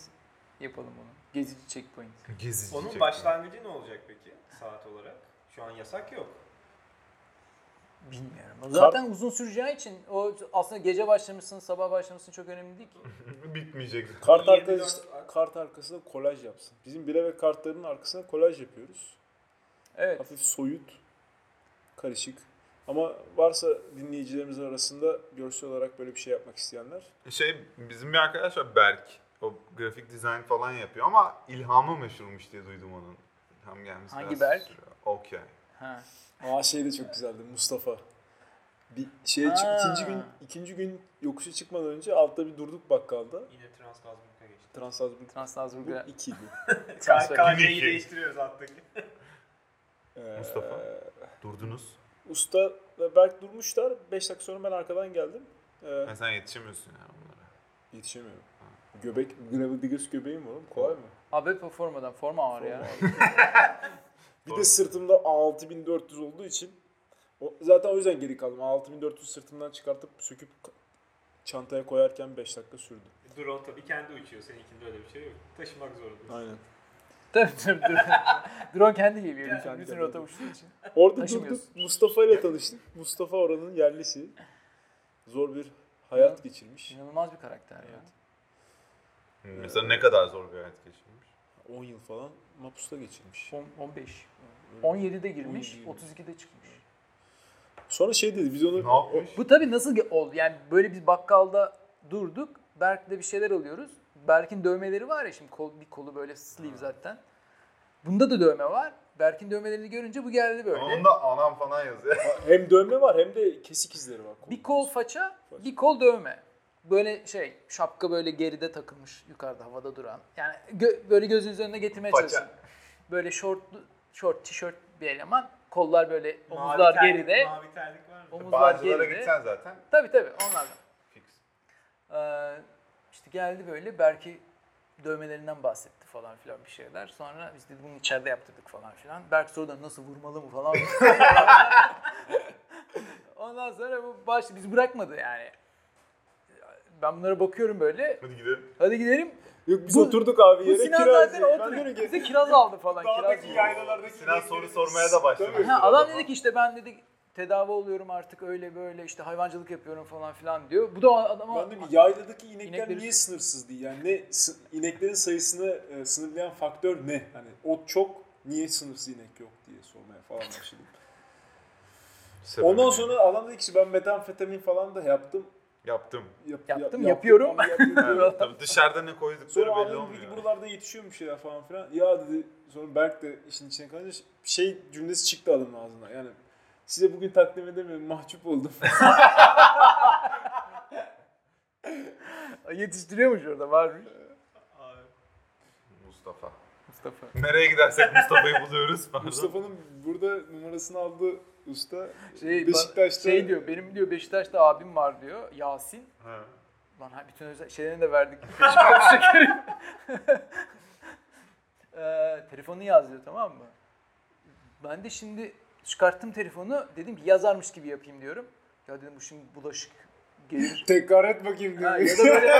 Speaker 4: yapalım bunu. Gezici checkpoint.
Speaker 3: Gezici
Speaker 6: Onun
Speaker 3: çekme.
Speaker 6: başlangıcı ne olacak peki saat olarak? Şu an yasak yok.
Speaker 4: Bilmiyorum. O Zaten uzun süreceği için o aslında gece başlamışsın, sabah başlamışsın çok önemli değil ki.
Speaker 3: Bitmeyecek.
Speaker 5: Kart,
Speaker 6: 24
Speaker 5: arkası, kart arkasında kolaj yapsın. Bizim bire ve kartların arkasına kolaj yapıyoruz.
Speaker 4: Evet.
Speaker 5: Hafif soyut, karışık. Ama varsa dinleyicilerimiz arasında görsel olarak böyle bir şey yapmak isteyenler.
Speaker 3: Şey bizim bir arkadaş var Berk. O grafik dizayn falan yapıyor ama ilhamı meşhurmuş diye duydum onun. İlham gelmesi
Speaker 4: Hangi
Speaker 3: biraz
Speaker 4: Berk?
Speaker 3: sürüyor. Okey.
Speaker 4: Ha.
Speaker 5: Aa şey de çok güzeldi Mustafa. Bir şeye çık-
Speaker 4: Ha.
Speaker 5: ikinci gün ikinci gün yokuşa çıkmadan önce altta bir durduk bakkalda.
Speaker 6: Yine Transkazmuk'a geçti.
Speaker 5: Transalzburg
Speaker 4: Translazburg'a
Speaker 5: 2
Speaker 4: transfer.
Speaker 6: KK'yı
Speaker 3: iki.
Speaker 6: değiştiriyoruz alttaki.
Speaker 3: Mustafa? Durdunuz.
Speaker 5: Ee, Usta ve Berk durmuşlar. 5 dakika sonra ben arkadan geldim. Ee,
Speaker 3: Yani sen yetişemiyorsun ya onlara.
Speaker 5: yetişemiyorum. Göbek, Gravel Diggers göbeğim var oğlum. Kolay mı?
Speaker 4: Abi hep o formadan. Forma var ya.
Speaker 5: Bir
Speaker 3: Doğru.
Speaker 5: de sırtımda 6400 olduğu için o, zaten o yüzden geri kaldım. 6400 sırtımdan çıkartıp söküp ka- çantaya koyarken 5 dakika sürdü.
Speaker 6: Drone tabii kendi uçuyor. Seninkinde öyle bir şey yok. Taşımak zorundasın.
Speaker 5: Aynen.
Speaker 4: tabii tabii. drone- Drone kendi geliyor.
Speaker 5: kendi
Speaker 4: bütün
Speaker 5: geliyor.
Speaker 4: rota uçtuğu için.
Speaker 5: Orada durduk.
Speaker 4: Taşımıyorsun.
Speaker 5: Mustafa ile tanıştık. Mustafa oranın yerlisi. Zor bir hayat geçirmiş.
Speaker 4: İnanılmaz bir karakter ya.
Speaker 3: Mesela ne kadar zor bir hayat geçirmiş.
Speaker 5: 10 yıl falan mapusta geçirmiş.
Speaker 4: 10, 15.
Speaker 5: Öyle.
Speaker 4: 17'de girmiş,
Speaker 5: 17'de.
Speaker 4: 32'de çıkmış.
Speaker 5: Sonra şey dedi biz onu
Speaker 3: Ne yapmış?
Speaker 4: Bu tabii nasıl ge- oldu? Yani böyle biz bakkalda durduk. Berk'le bir şeyler alıyoruz. Berk'in dövmeleri var ya şimdi kol, bir kolu böyle sleeve zaten. Bunda da dövme var. Berk'in dövmelerini görünce bu geldi böyle.
Speaker 3: Ama onda anam falan yazıyor.
Speaker 5: hem dövme var hem de kesik izleri var.
Speaker 4: Bir kol faça, bir kol dövme. Böyle şey, şapka böyle geride takılmış yukarıda havada duran. Yani gö- böyle gözünüzün önüne getirmeye
Speaker 3: Faça.
Speaker 4: çalışın. Böyle şortlu, şort, tişört bir eleman. Kollar böyle,
Speaker 6: Mavi
Speaker 4: omuzlar
Speaker 6: terlik-
Speaker 4: geride.
Speaker 6: Mavi terlik var mı?
Speaker 4: Omuzlar
Speaker 3: Bağcılara
Speaker 4: geride.
Speaker 3: gitsen zaten
Speaker 4: Tabii tabii onlardan.
Speaker 3: fix.
Speaker 4: Ee, işte geldi böyle Berk'i dövmelerinden bahsetti falan filan bir şeyler. Sonra biz dedi bunu içeride yaptırdık falan filan. Berk soruda nasıl vurmalı mı falan. Ondan sonra bu baş biz bırakmadı yani. Ben bunlara bakıyorum böyle.
Speaker 3: Hadi gidelim.
Speaker 4: Hadi gidelim.
Speaker 5: Yok biz
Speaker 4: Bu-
Speaker 5: oturduk abi
Speaker 4: Bu
Speaker 5: yere
Speaker 4: Sinan
Speaker 5: kiraz
Speaker 4: zaten
Speaker 5: yiyor. Ben diyorum
Speaker 4: oturup
Speaker 5: ki,
Speaker 4: bize kiraz aldı falan. Kiraz
Speaker 5: Dağdaki
Speaker 4: yiyor.
Speaker 5: yaylalardaki
Speaker 3: Sinan soru sormaya da başlamış.
Speaker 4: Ha, adam dedi ki işte ben dedi tedavi oluyorum artık öyle böyle işte hayvancılık yapıyorum falan filan diyor. Bu da adama
Speaker 5: Ben diyorum ki yayladaki inekler
Speaker 4: İnekleri
Speaker 5: niye
Speaker 4: sor-
Speaker 5: sınırsız değil? Yani ne sı- ineklerin sayısını e, sınırlayan faktör ne? Hani ot çok niye sınırsız inek yok diye sormaya falan başladım. Ondan sonra adam dedi ki ben metamfetamin falan da yaptım.
Speaker 3: Yaptım.
Speaker 5: Yap-
Speaker 4: Yaptım,
Speaker 5: yap-
Speaker 4: yapıyorum.
Speaker 5: ama yapıyorum.
Speaker 3: Evet, tabii dışarıda ne koydukları
Speaker 5: Sonra
Speaker 3: belli
Speaker 5: anladım
Speaker 3: olmuyor.
Speaker 5: ki buralarda yetişiyormuş şeyler falan filan. Ya dedi sonra Berk de işin içine kalınca ş- şey cümlesi çıktı adamın ağzından. Yani size bugün takdim edemiyorum mahcup oldum.
Speaker 4: yetiştiriyormuş orada varmış.
Speaker 3: Mustafa.
Speaker 4: Mustafa.
Speaker 3: Nereye gidersek Mustafa'yı buluyoruz. Pardon.
Speaker 5: Mustafa'nın burada numarasını aldı usta.
Speaker 4: Şey,
Speaker 5: Beşiktaş'ta
Speaker 4: şey diyor benim diyor Beşiktaş'ta abim var diyor Yasin.
Speaker 3: Ha.
Speaker 4: Lan ha- bütün özel şeylerini de verdik. Teşekkür şekerim. Eee, telefonu Ee, yaz diyor tamam mı? Ben de şimdi çıkarttım telefonu dedim ki yazarmış gibi yapayım diyorum. Ya dedim bu şimdi bulaşık gelir.
Speaker 5: tekrar et bakayım diyor.
Speaker 4: Ha, ya da böyle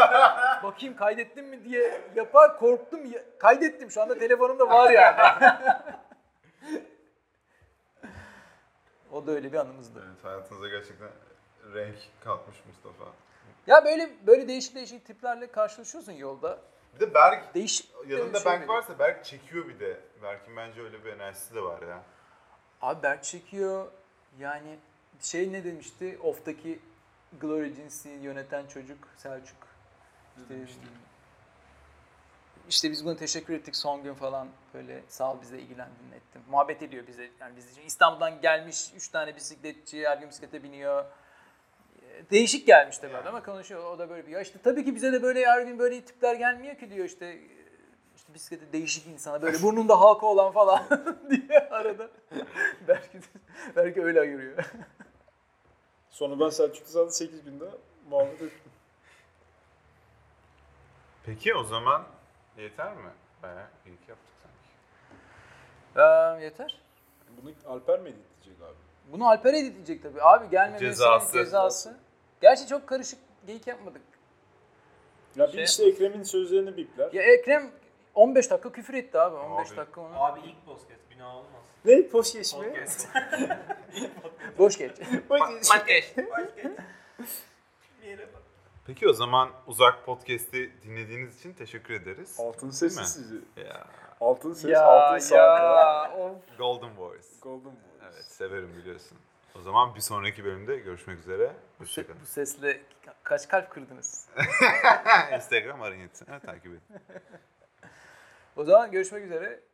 Speaker 4: bakayım kaydettim mi diye yapar korktum ya- kaydettim şu anda telefonumda var yani. O da öyle bir anımızdı.
Speaker 3: Evet, hayatınıza gerçekten renk katmış Mustafa.
Speaker 4: Ya böyle böyle değişik değişik tiplerle karşılaşıyorsun yolda.
Speaker 3: Bir de Berk
Speaker 4: Değişik
Speaker 3: yanında
Speaker 4: şey
Speaker 3: Berk
Speaker 4: böyle.
Speaker 3: varsa Berk çekiyor bir de. Berk'in bence öyle bir enerjisi de var ya.
Speaker 4: Abi Berk çekiyor. Yani şey ne demişti? Off'taki Glory Jeans'i yöneten çocuk Selçuk. İşte, işte biz buna teşekkür ettik son gün falan böyle sağ ol bize ilgilendin ettin. Muhabbet ediyor bize yani biz için. İstanbul'dan gelmiş 3 tane bisikletçi her gün bisiklete biniyor. Ee, Değişik gelmiş tabii
Speaker 3: Yani.
Speaker 4: ama konuşuyor. O da böyle bir ya işte tabii ki bize de böyle her gün böyle tipler gelmiyor ki diyor işte e, işte bisiklete değişik insana böyle burnunda halka olan falan diye arada. belki belki öyle ayırıyor.
Speaker 7: Sonra ben Selçuk'ta zaten 8 günde muhabbet ettim.
Speaker 3: Peki o zaman yeter mi? Bayağı iyi ki yaptık sanki.
Speaker 4: Ee, yeter.
Speaker 7: Bunu Alper mi editleyecek abi?
Speaker 4: Bunu Alper'e edilecek tabii. Abi gelmemesinin
Speaker 3: Cezası.
Speaker 4: cezası. Gerçi çok karışık geyik yapmadık.
Speaker 7: Ya
Speaker 4: Şey-
Speaker 7: bir işte Ekrem'in sözlerini bipler.
Speaker 4: Ya Ekrem 15 dakika küfür etti abi. 15
Speaker 3: Abi.
Speaker 4: dakika ona.
Speaker 6: Abi ilk podcast günah olmaz.
Speaker 7: Ne? Poş geçme.
Speaker 6: Podcast.
Speaker 4: Boş geç.
Speaker 6: Podcast. Podcast. Bir yere bak.
Speaker 3: Peki o zaman Uzak Podcast'i dinlediğiniz için teşekkür ederiz.
Speaker 7: Altın
Speaker 3: Değil mi?
Speaker 7: sesi sizi.
Speaker 3: Ya,
Speaker 7: Altın ses, altın sarkı.
Speaker 4: of.
Speaker 3: Golden Voice.
Speaker 7: Golden Boy.
Speaker 3: Evet severim biliyorsun. O zaman bir sonraki bölümde görüşmek üzere. Hoşçakalın.
Speaker 4: Bu sesle ka- kaç kalp kırdınız?
Speaker 3: Instagram arayın. Ha, takip edin.
Speaker 4: O zaman görüşmek üzere.